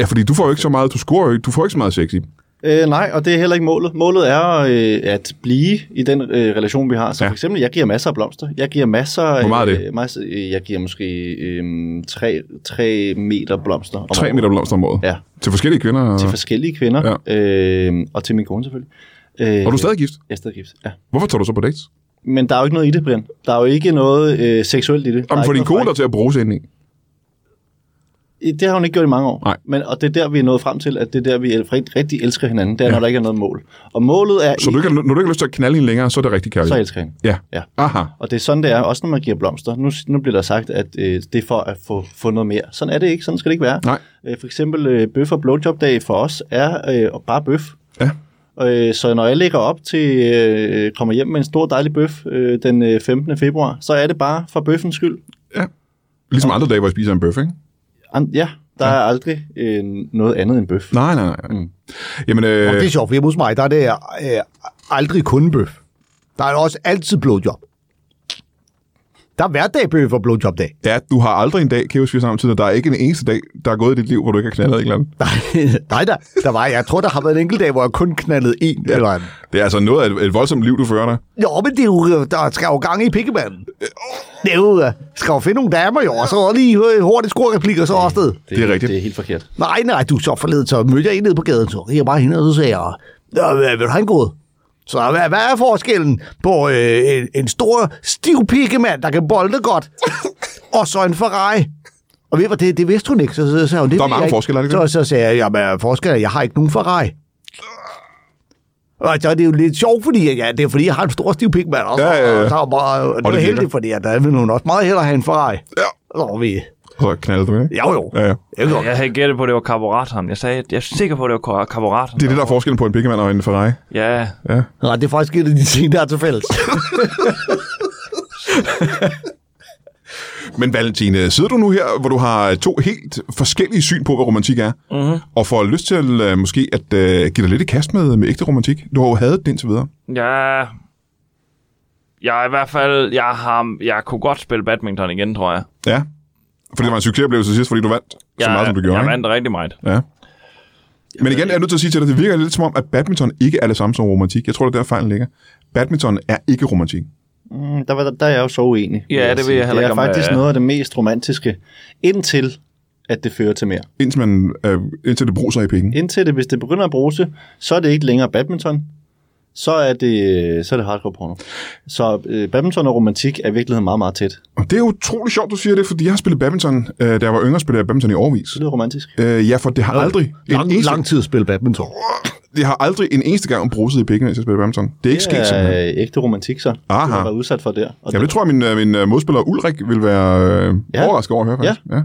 Speaker 1: Ja, fordi du får jo ikke så meget, du scorer jo ikke, du får ikke så meget sex i.
Speaker 2: Øh, nej, og det er heller ikke målet. Målet er øh, at blive i den øh, relation, vi har. Så
Speaker 1: Ja.
Speaker 2: ja. for eksempel, jeg giver masser af blomster. Jeg giver masser...
Speaker 1: Hvor meget er det?
Speaker 2: Øh, masser, øh, jeg giver måske øh, tre, tre meter blomster. om
Speaker 1: 3
Speaker 2: året.
Speaker 1: meter blomster om året.
Speaker 2: Ja,
Speaker 1: Til forskellige kvinder. Og,
Speaker 2: til forskellige kvinder. Ja. Øh, og til min kone selvfølgelig. Øh,
Speaker 1: og du er stadig gift.
Speaker 2: Jeg er stadig gift, ja.
Speaker 1: Hvorfor tager du så på dates?
Speaker 2: Men der er jo ikke noget i det, Brian. Der er jo ikke noget øh, seksuelt i det. Der er
Speaker 1: Om for din
Speaker 2: ikke noget
Speaker 1: kone der til at bruge sig ind i.
Speaker 2: Det har hun ikke gjort i mange år.
Speaker 1: Nej.
Speaker 2: Men, og det er der, vi er nået frem til, at det er der, vi el- rigt- rigtig elsker hinanden. Det er, ja. når der ikke er noget mål. Og målet er,
Speaker 1: Så du ikke, har- når du ikke har lyst til at knalde hende længere, så er det rigtig kærligt.
Speaker 2: så elsker jeg hende.
Speaker 1: Ja.
Speaker 2: Ja.
Speaker 1: Aha.
Speaker 2: Og det er sådan, det er, også når man giver blomster. Nu, nu bliver der sagt, at øh, det er for at få, få noget mere. Sådan er det ikke. Sådan skal det ikke være.
Speaker 1: Nej.
Speaker 2: Øh, for eksempel øh, bøf og blowjob-dag for os er øh, bare bøf.
Speaker 1: Ja.
Speaker 2: Øh, så når jeg lægger op til, øh, kommer hjem med en stor dejlig bøf øh, den øh, 15. februar, så er det bare for bøffens skyld.
Speaker 1: Ligesom andre dage, hvor jeg spiser en bøf, ikke?
Speaker 2: An- ja, der ja. er aldrig øh, noget andet end bøf.
Speaker 1: Nej, nej, nej. Mm. Jamen, øh,
Speaker 4: Og det er sjovt, for hjemme hos mig, der er det øh, aldrig kun bøf. Der er jo også altid blowjob. Der er hverdagbøf og blowjobdag.
Speaker 1: Ja, du har aldrig en dag, kan jeg huske, vi var sammen tidligere. Der er ikke en eneste dag, der er gået i dit liv, hvor du ikke har knaldet en eller anden.
Speaker 4: Nej, nej der, der var, jeg tror, der har været en enkelt dag, hvor jeg kun knaldede en ja. eller anden.
Speaker 1: Det er altså noget af et, et voldsomt liv, du fører dig.
Speaker 4: Jo, men det er jo, øh, der skal jo gang i pikkebanden. Det er jo, øh, skal jo finde nogle damer jo, og så lige øh, hurtigt skurreplikker så afsted.
Speaker 1: Det er rigtigt.
Speaker 2: Det er helt forkert.
Speaker 4: Nej, nej, du så forleden, så mødte jeg en nede på gaden, så jeg bare hende, og så sagde jeg, "Nå, hvad- vil du have en god? Så hvad, hvad er forskellen på øh, en, en stor, stiv pikkemand, der kan bolde godt, og så en Ferrari? Og ved du hvad, det, det vidste hun ikke, så, så sagde hun, det
Speaker 1: Der er
Speaker 4: ved
Speaker 1: mange
Speaker 4: jeg ikke.
Speaker 1: forskelle, er det ikke
Speaker 4: Så, så sagde jeg, jamen øh, forskellen, er, jeg har ikke nogen Ferrari. Og så er det jo lidt sjovt, fordi at, ja, det er fordi, jeg har en stor stiv pikmand også.
Speaker 1: Ja, ja, ja.
Speaker 4: Og, så er bare, og det,
Speaker 1: det
Speaker 4: var
Speaker 1: virker.
Speaker 4: heldigt, fordi at der ville hun også meget hellere have en Ferrari.
Speaker 1: Ja.
Speaker 4: Så var vi,
Speaker 1: Så knaldede du, ikke?
Speaker 4: jo jo,
Speaker 1: Ja, ja.
Speaker 4: det er godt.
Speaker 3: Jeg havde gættet på, at det var karburatoren. Jeg sagde, at jeg er sikker på, at det var karburatoren.
Speaker 1: Det er det, der er forskellen på en pikkemand og en Ferrari.
Speaker 3: Ja,
Speaker 1: Ja.
Speaker 4: Nej, det er faktisk et af de ting, der er til fælles.
Speaker 1: Men Valentine, sidder du nu her, hvor du har to helt forskellige syn på, hvad romantik er, mm-hmm. og får lyst til øh, måske at øh, give dig lidt i kast med, med ægte romantik? Du har jo hadet det indtil videre.
Speaker 3: Ja, jeg er i hvert fald, jeg har, jeg kunne godt spille badminton igen, tror jeg.
Speaker 1: Ja. Fordi det var en succesoplevelse sidst, fordi du vandt så
Speaker 3: jeg,
Speaker 1: meget, som du gjorde.
Speaker 3: Jeg
Speaker 1: ikke?
Speaker 3: vandt rigtig meget.
Speaker 1: Ja. Men igen, jeg er nødt til at sige til dig, det virker lidt som om, at badminton ikke er det samme som romantik. Jeg tror, det er der fejlen ligger. Badminton er ikke romantik.
Speaker 2: Mm, der, var, der er jeg jo så uenig.
Speaker 3: Ja, det ved
Speaker 2: sige.
Speaker 3: jeg heller
Speaker 2: Det
Speaker 3: ikke,
Speaker 2: er
Speaker 3: om øh, jeg
Speaker 2: faktisk
Speaker 3: er.
Speaker 2: noget af det mest romantiske, indtil at det fører til mere.
Speaker 1: Indtil, man, øh, indtil det bruser i pikken.
Speaker 2: Indtil det, hvis det begynder at bruse, så er det ikke længere badminton. Så er det, øh, så er det hardcore porno. Så øh, badminton og romantik er i virkeligheden meget, meget tæt.
Speaker 1: Og det er utrolig sjovt, du siger det, fordi jeg har spillet badminton, øh, da jeg var yngre, spillede jeg badminton i årvis.
Speaker 2: Det lyder romantisk.
Speaker 1: Øh, ja, for det har aldrig...
Speaker 4: lang,
Speaker 1: eneste,
Speaker 4: lang tid at spille badminton.
Speaker 1: Det har aldrig en eneste gang bruset i pikken, mens jeg spillede badminton. Det er ikke sket,
Speaker 2: Det
Speaker 1: simpelthen.
Speaker 2: er øh, ægte romantik, så.
Speaker 1: Aha.
Speaker 2: Du har været udsat for der. Og
Speaker 1: Ja, det tror jeg, min, øh, min øh, modspiller Ulrik vil være øh,
Speaker 2: Ja.
Speaker 1: overrasket over at høre, faktisk. Ja.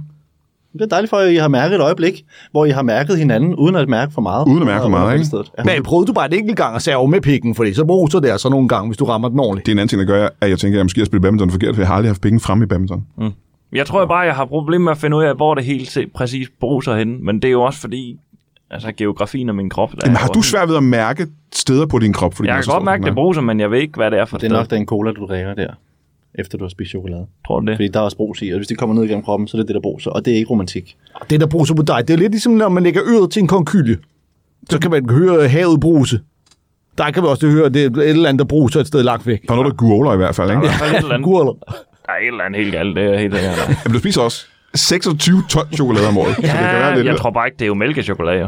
Speaker 2: Det er dejligt for, at I har mærket et øjeblik, hvor I har mærket hinanden, uden at mærke for meget.
Speaker 1: Uden at mærke for meget, ikke?
Speaker 2: Stedet. Ja.
Speaker 4: Men prøvede du bare en enkelt gang at save med pikken, fordi så bruser det altså nogle gange, hvis du rammer den ordentligt.
Speaker 1: Det er en anden ting, der gør, at jeg tænker, at jeg måske har spillet badminton forkert, for jeg har aldrig haft pikken fremme i badminton.
Speaker 3: Jeg tror bare, jeg har problemer med at finde ud af, hvor det helt se- præcis bruser henne. Men det er jo også fordi, altså geografien af min krop. Der
Speaker 1: Jamen,
Speaker 3: er
Speaker 1: har
Speaker 3: jo
Speaker 1: du Altså,
Speaker 3: også-
Speaker 1: svært ved at mærke steder på din krop? Fordi
Speaker 3: Jeg
Speaker 1: den er
Speaker 3: kan
Speaker 1: så
Speaker 3: godt
Speaker 1: stor,
Speaker 3: mærke,
Speaker 1: som
Speaker 3: det
Speaker 1: den
Speaker 3: bruser, men jeg ved ikke, hvad det er for
Speaker 2: Det er nok den cola, du drikker der, efter du har spist chokolade.
Speaker 3: Tror du det?
Speaker 2: Fordi der er også brus i, og hvis det kommer ned igennem kroppen, så er det det, der bruser. Og det er ikke romantik.
Speaker 4: Og Det, der bruser på dig, det er lidt ligesom, når man lægger øret til en konkylje. Så kan man høre havet bruse. Der kan man også høre, det er et eller andet, der bruser et sted langt væk.
Speaker 1: Der er noget, der guoler i hvert fald, ikke?
Speaker 3: Der er i hvert fald et eller andet-
Speaker 4: Gurler.
Speaker 3: der er et eller andet helt galt, det er helt sikkert.
Speaker 1: Jamen, du spiser også 26 ton chokolade om året. så det kan være
Speaker 3: Ja,
Speaker 1: lidt...
Speaker 3: jeg tror bare ikke, det er jo mælkechokolade. jo.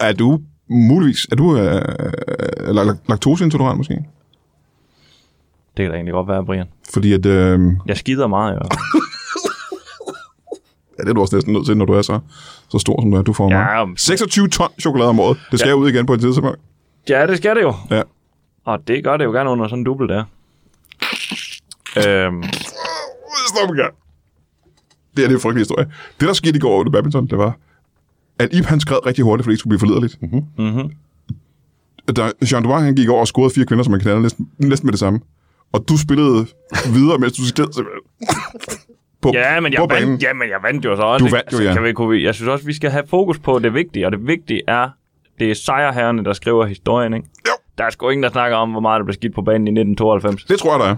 Speaker 1: Er du muligvis... Er du øh, øh, la- la- laktoseintolerant måske?
Speaker 3: Det kan da egentlig godt være, Brian.
Speaker 1: Fordi at... Øh,
Speaker 3: Jeg skider meget, jo.
Speaker 1: ja, det er du også næsten nødt til, når du er så, så stor, som du er. Du får
Speaker 3: Ja,
Speaker 1: meget.
Speaker 3: men-
Speaker 1: 26 ton chokolade om året. Det skal ja. ud igen på et tidspunkt.
Speaker 3: Ja, det skal det jo.
Speaker 1: Ja.
Speaker 3: Og det gør det jo gerne under sådan en dubbel der. Øhm,
Speaker 1: Stop en gang. Det her det er en frygtelig historie. Det, der skete i går under badminton, det var, at Ip han skred rigtig hurtigt, fordi det skulle blive forlederligt. Mm-hmm. Mm-hmm. Da Jean Dubois, han gik over og scorede fire kvinder, som man knaldede næsten, næsten med det samme. Og du spillede videre, mens du skred simpelthen. på,
Speaker 3: ja, men jeg,
Speaker 1: på banen.
Speaker 3: vandt, ja, men jeg vandt jo så også.
Speaker 1: Du
Speaker 3: ikke?
Speaker 1: vandt jo,
Speaker 3: Altså,
Speaker 1: ja.
Speaker 3: Kan vi, kunne vi, jeg synes også, vi skal have fokus på det vigtige, og det vigtige er, det er sejrherrene, der skriver historien, ikke?
Speaker 1: Jo.
Speaker 3: Der er sgu ingen, der snakker om, hvor meget der blev skidt på banen i 1992.
Speaker 1: Det tror jeg, der er.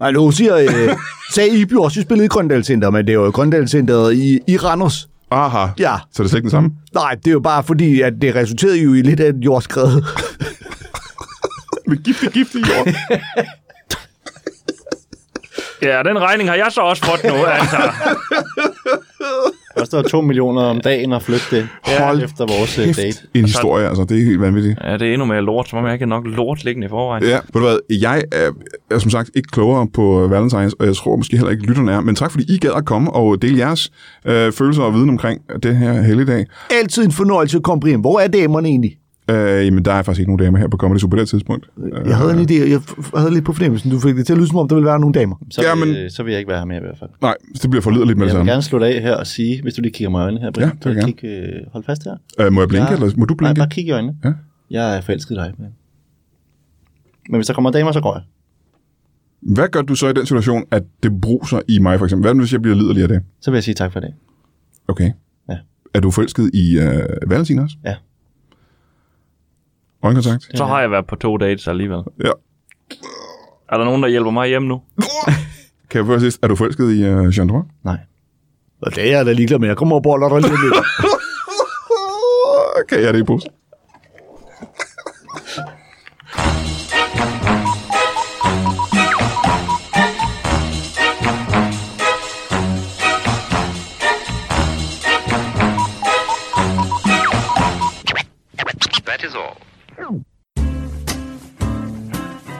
Speaker 4: Nej, nu siger, øh, sagde Ibi også, at spillede i Grøndal Center, men det er jo Grøndal Center i, i Randers.
Speaker 1: Aha.
Speaker 4: Ja.
Speaker 1: Så er det slet ikke den samme?
Speaker 4: Nej, det er jo bare fordi, at det resulterede jo i lidt af et jordskred.
Speaker 1: Med giftig, giftig jord.
Speaker 3: Ja, den regning har jeg så også fået nu, altså.
Speaker 2: Koster 2 millioner om dagen at flytte det
Speaker 1: Hold
Speaker 2: efter vores øh, date.
Speaker 1: Kæft, en historie, altså. Det er helt vanvittigt.
Speaker 3: Ja, det er endnu mere lort, som om jeg ikke har nok lort liggende i forvejen.
Speaker 1: Ja, ved du hvad, jeg er, er som sagt ikke klogere på øh, Valentines, og jeg tror måske heller ikke, lytterne er, men tak fordi I gad at komme og dele jeres øh, følelser og viden omkring det her helligdag.
Speaker 4: Altid en fornøjelse at komme, Brian. Hvor er damerne egentlig?
Speaker 1: Øh, jamen, der er faktisk ikke nogen damer her på Comedy Zoo på det her tidspunkt. Øh,
Speaker 4: Jeg havde en idé, jeg f- havde lidt på fornemmelsen. Du fik det til at lyde som om, der ville være nogle damer.
Speaker 2: Så,
Speaker 1: Ja,
Speaker 2: ja,
Speaker 1: men-
Speaker 2: men... øh, så vil jeg ikke være her mere i hvert fald.
Speaker 1: nej, det bliver forliderligt med det
Speaker 2: Jeg vil
Speaker 1: samme.
Speaker 2: gerne slutte af her og sige, hvis du lige kigger mig i øjnene her, Brian.
Speaker 1: Ja, det vil jeg
Speaker 2: Så
Speaker 1: gerne.
Speaker 2: kig, øh, hold fast her.
Speaker 1: Øh, må jeg blinke, ja. eller må du
Speaker 2: Nej,
Speaker 1: blinke?
Speaker 2: bare kig i øjnene.
Speaker 1: Ja.
Speaker 2: Jeg er forelsket i dig, Brian. Men hvis der kommer damer, så går jeg.
Speaker 1: Hvad gør du så i den situation, at det bruser i mig, for eksempel? Hvad nu, hvis jeg bliver liderlig af det?
Speaker 2: Så vil jeg sige tak for i dag.
Speaker 1: Okay.
Speaker 2: Ja.
Speaker 1: Er du forelsket i øh, Valentin også?
Speaker 2: Ja.
Speaker 1: Øjenkontakt.
Speaker 3: Så har jeg været på to dates alligevel.
Speaker 1: Ja.
Speaker 3: Er der nogen, der hjælper mig hjem nu?
Speaker 1: Kan jeg først sidst, er du forelsket i uh, Jean Droit?
Speaker 2: Nej.
Speaker 4: Og det er jeg da ligeglad med. Jeg kommer og boller dig lige lidt.
Speaker 1: Kan jeg det i pose?